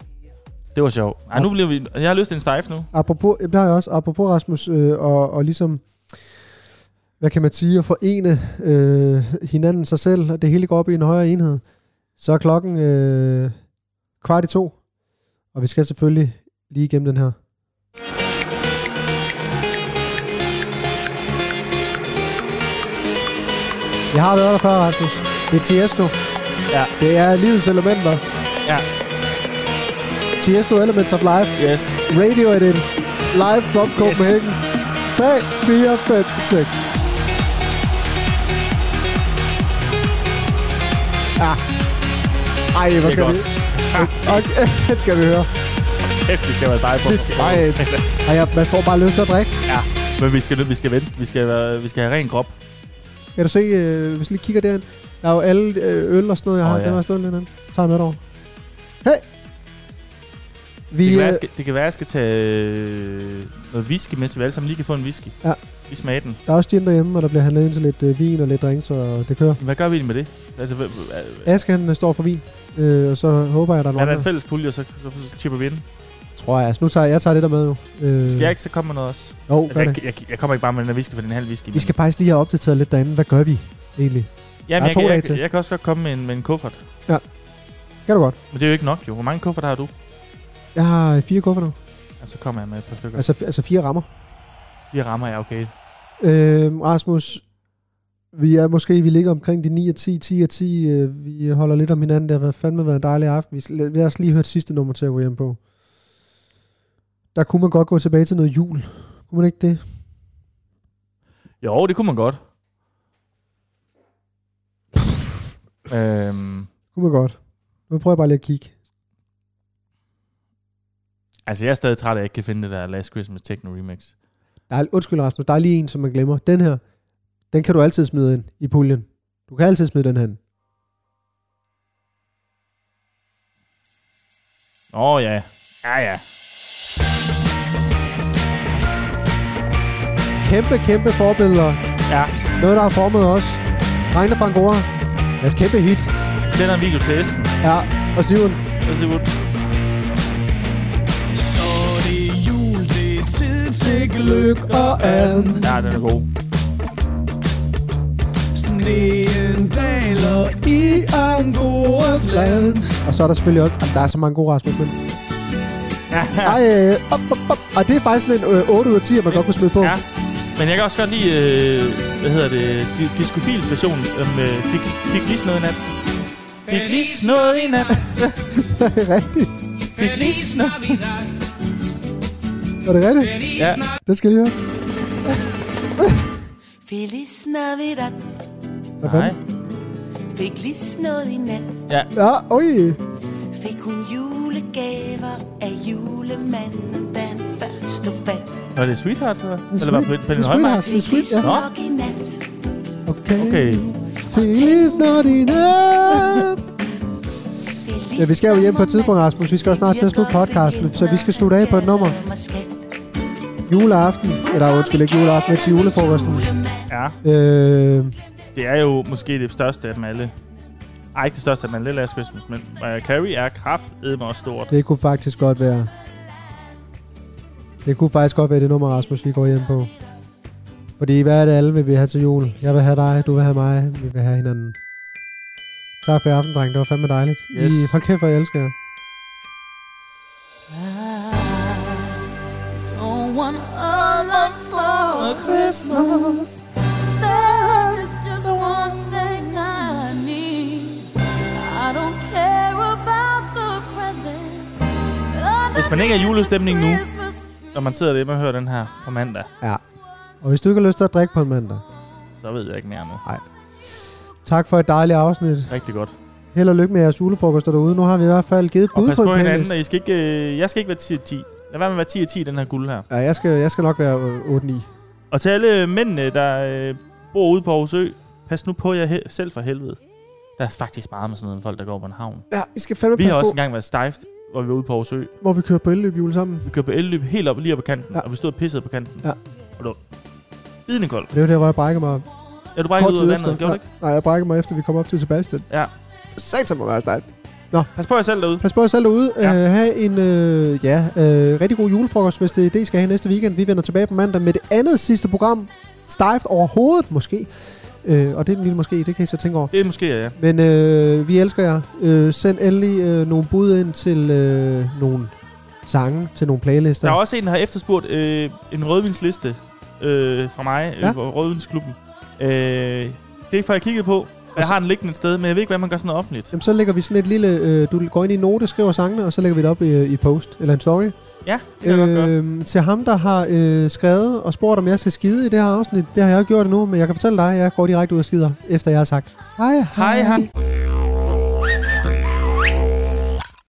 Speaker 2: Det var sjovt. Ej, nu bliver vi... Jeg har lyst til en stejf nu.
Speaker 1: apropos, jamen, det har jeg også. Apropos Rasmus, øh, og, og ligesom, hvad kan man sige, at forene øh, hinanden sig selv, og det hele går op i en højere enhed. Så er klokken øh, kvart i to, og vi skal selvfølgelig lige igennem den her. Jeg har været der før, Rasmus. Det er Tiesto.
Speaker 2: Ja.
Speaker 1: Det er livets elementer.
Speaker 2: Ja.
Speaker 1: Tiesto Elements of Life.
Speaker 2: Yes.
Speaker 1: Radio Edit. Live from Copenhagen. 3, 4, 5, 6. Ja. Ah. Ej, hvor
Speaker 2: Det er
Speaker 1: skal vi...
Speaker 2: godt. Ah.
Speaker 1: Okay, det skal vi høre.
Speaker 2: Kæft, det skal være stejf på.
Speaker 1: Det skal, ej, ej, ja, man får bare lyst til at drikke.
Speaker 2: Ja. Men vi skal, vi skal vente. Vi skal, være, vi skal have ren krop.
Speaker 1: Kan du se, øh, hvis vi lige kigger derind, der er jo alle øh, øl og sådan noget, jeg
Speaker 2: Åh,
Speaker 1: har. Oh,
Speaker 2: ja.
Speaker 1: ja. Det var stået lidt andet. Tager jeg med derovre. Hey! Vi,
Speaker 2: Det kan, være, jeg
Speaker 1: øh,
Speaker 2: skal, det kan være, jeg skal tage øh, noget whisky med, så vi alle sammen lige kan få en whisky.
Speaker 1: Ja.
Speaker 2: Vi smager den.
Speaker 1: der er også gin derhjemme, og der bliver handlet ind til lidt øh, vin og lidt drinks, og det kører.
Speaker 2: Hvad gør vi egentlig med det? Altså, hvad, hvad,
Speaker 1: Aske, han øh, står for vin, øh, og så håber jeg, at der er nogen.
Speaker 2: er der en
Speaker 1: andre.
Speaker 2: fælles pulje, og så, så, så chipper vi ind?
Speaker 1: Tror jeg, altså nu tager jeg tager det der med jo. Øh,
Speaker 2: Skal jeg ikke, så kommer noget også.
Speaker 1: Jo,
Speaker 2: Altså,
Speaker 1: gør det.
Speaker 2: jeg, jeg, jeg kommer ikke bare med den her whisky, for den halv whisky.
Speaker 1: Vi skal faktisk lige have opdateret lidt derinde. Hvad gør vi egentlig?
Speaker 2: ja,
Speaker 1: der er
Speaker 2: jeg,
Speaker 1: to
Speaker 2: kan-
Speaker 1: dage
Speaker 2: jeg,
Speaker 1: til.
Speaker 2: jeg, jeg, kan også godt komme med en, med en kuffert.
Speaker 1: Kan du godt?
Speaker 2: Men det er jo ikke nok, jo. Hvor mange kufferter har du?
Speaker 1: Jeg har øh, fire kuffer nu.
Speaker 2: Jamen, så kommer jeg med et par stykker. Altså,
Speaker 1: Altså, altså fire rammer.
Speaker 2: vi rammer jeg, okay.
Speaker 1: Øh, Rasmus, vi er måske, vi ligger omkring de 9 og 10, 10 og 10. Øh, vi holder lidt om hinanden. Det har været fandme været en dejlig aften. Vi, s- lad lad os lige høre det sidste nummer til at gå hjem på. Der kunne man godt gå tilbage til noget jul. Kunne man ikke det?
Speaker 2: Jo, det kunne man godt. øhm,
Speaker 1: Kunne man godt. Nu prøver jeg bare lige at kigge.
Speaker 2: altså, jeg er stadig træt af, at jeg ikke kan finde det der Last Christmas Techno Remix.
Speaker 1: Der er, undskyld Rasmus, der er lige en, som man glemmer. Den her, den kan du altid smide ind i puljen. Du kan altid smide den her. ind.
Speaker 2: Åh, oh, ja. Ja, ja.
Speaker 1: Kæmpe, kæmpe forbilleder.
Speaker 2: Ja.
Speaker 1: Noget, der har formet os. Regne Frank Ora. Deres kæmpe hit.
Speaker 2: Sender en video til Esben.
Speaker 1: Ja, og Simon.
Speaker 2: Lad os se, hvor-
Speaker 5: Så det er jul, det er tid til
Speaker 1: Lykke og an.
Speaker 2: Ja, den er god.
Speaker 5: Sneen daler i Angoras land
Speaker 1: Og så er der selvfølgelig også... Jamen, der er så mange gode Rasmus, men... Ej, øh, op, op, op. Og det er faktisk sådan en øh, 8 ud af 10, at man godt kunne smide på.
Speaker 2: Ja. Men jeg kan også godt lide, øh, hvad hedder det, di- Discofils version. Um, øh, fik, fik lige noget i nat. Fik lige noget i nat.
Speaker 1: det er rigtigt.
Speaker 2: Fik lige noget.
Speaker 1: Er det rigtigt?
Speaker 2: Ja.
Speaker 1: Det skal jeg lige høre.
Speaker 7: Feliz Navidad,
Speaker 1: Hvad
Speaker 2: Nej.
Speaker 1: fanden?
Speaker 7: fik lige noget i nat,
Speaker 2: Ja.
Speaker 1: Ja, oj.
Speaker 7: fik hun julegaver af julemanden den første fat.
Speaker 2: Var det Sweethearts, eller hvad? Eller var
Speaker 1: Sweet-
Speaker 2: det på
Speaker 1: det
Speaker 2: den
Speaker 1: er
Speaker 2: højmark?
Speaker 1: Sweethearts, det er sweet, ja.
Speaker 2: Nå.
Speaker 7: nok i nat,
Speaker 1: Okay.
Speaker 2: Okay.
Speaker 1: Feliz not in hand.
Speaker 7: Feliz
Speaker 1: Ja, vi skal jo hjem på et tidspunkt,
Speaker 7: sommermand.
Speaker 1: Rasmus. Vi skal også snart til at slutte podcasten, så vi skal slutte af på et nummer.
Speaker 7: Kalder mig skat.
Speaker 1: Juleaften, eller undskyld, ikke juleaften, men til julefrokosten.
Speaker 2: Ja.
Speaker 1: Øh,
Speaker 2: Det er jo måske det største af dem alle. Ej, ikke det største af dem alle, Last Christmas, men Mariah Carey er kraftedme også stort.
Speaker 1: det kunne faktisk godt være... Det kunne faktisk godt være det nummer, Rasmus, vi går hjem på. Fordi hvad er det alle vil vi have til jul? Jeg vil have dig, du vil have mig, vi vil have hinanden. Tak for i aften, dreng. Det var fandme dejligt.
Speaker 2: Yes.
Speaker 1: Yes. I, hold kæft, hvor jeg elsker jer.
Speaker 8: Don't want all love for Christmas. There is just one thing I need. I don't care about the presents.
Speaker 2: Hvis man ikke er i julestemning nu,
Speaker 8: Christmas
Speaker 2: Når man sidder derhjemme og hører den her på mandag,
Speaker 1: Ja. Og hvis du ikke har lyst til at drikke på en mandag,
Speaker 2: så ved jeg ikke mere nu.
Speaker 1: tak for et dejligt afsnit.
Speaker 2: Rigtig godt.
Speaker 1: Held og lykke med jeres julefrokoster derude. Nu har vi i hvert fald givet et
Speaker 2: Og
Speaker 1: bud
Speaker 2: pas
Speaker 1: på en
Speaker 2: på
Speaker 1: playlist.
Speaker 2: hinanden, og I skal ikke, øh, jeg skal ikke være 10 10. Lad være med at være 10 10 i den her guld her.
Speaker 1: Ja, jeg skal, jeg skal nok være øh, 8-9.
Speaker 2: Og til alle mændene, der øh, bor ude på Aarhus Ø, pas nu på jer he- selv for helvede. Der er faktisk meget med sådan noget folk, der går på en havn.
Speaker 1: Ja, I skal fandme
Speaker 2: Vi
Speaker 1: passe
Speaker 2: har også
Speaker 1: på,
Speaker 2: engang været stejft, hvor vi var ude på Aarhus Ø.
Speaker 1: hvor vi kører på elløb jul sammen.
Speaker 2: Vi kørte på elløb helt op lige op på kanten,
Speaker 1: Ja.
Speaker 2: ja. og vi stod og pissede på kanten.
Speaker 1: Ja.
Speaker 2: Og det var bidende koldt.
Speaker 1: Det var der, hvor jeg brækkede mig.
Speaker 2: Ja, du bare ikke ud af vandet,
Speaker 1: efter.
Speaker 2: gjorde du
Speaker 1: Nej,
Speaker 2: ikke?
Speaker 1: nej, jeg brækkede mig efter, vi kom op til Sebastian.
Speaker 2: Ja.
Speaker 1: Satan må være stejt.
Speaker 2: Pas på jer selv derude.
Speaker 1: Pas på jer selv derude. Ja.
Speaker 2: Ja.
Speaker 1: Uh, have en uh, ja, uh, rigtig god julefrokost, hvis det er det, I skal have næste weekend. Vi vender tilbage på mandag med det andet sidste program. Stejft overhovedet, måske. Uh, og det er den lille måske, det kan I så tænke over.
Speaker 2: Det er måske, ja.
Speaker 1: Men øh, vi elsker jer. Øh, send endelig øh, nogle bud ind til øh, nogle sange, til nogle playlister.
Speaker 2: Der er også en, der har efterspurgt øh, en rødvinsliste øh, fra mig,
Speaker 1: Ja.
Speaker 2: ja. øh, fra Rødvinsklubben. Øh, det får jeg kigget på. Jeg har den liggende et sted, men jeg ved ikke, hvordan man gør sådan noget offentligt.
Speaker 1: Altså- Jamen, så lægger vi sådan et lille... Øh, du går ind i en note, skriver sangene, og så lægger vi det op i, i et post eller en story. Øhm,
Speaker 2: Ja, det kan jeg godt gøre.
Speaker 1: til ham, der har øh, skrevet og spurgt, om jeg skal skide i det her afsnit. Det har jeg ikke gjort endnu, men jeg kan fortælle dig, at jeg går direkte ud og skider, efter jeg har sagt hej, hej.
Speaker 2: Hej, hej.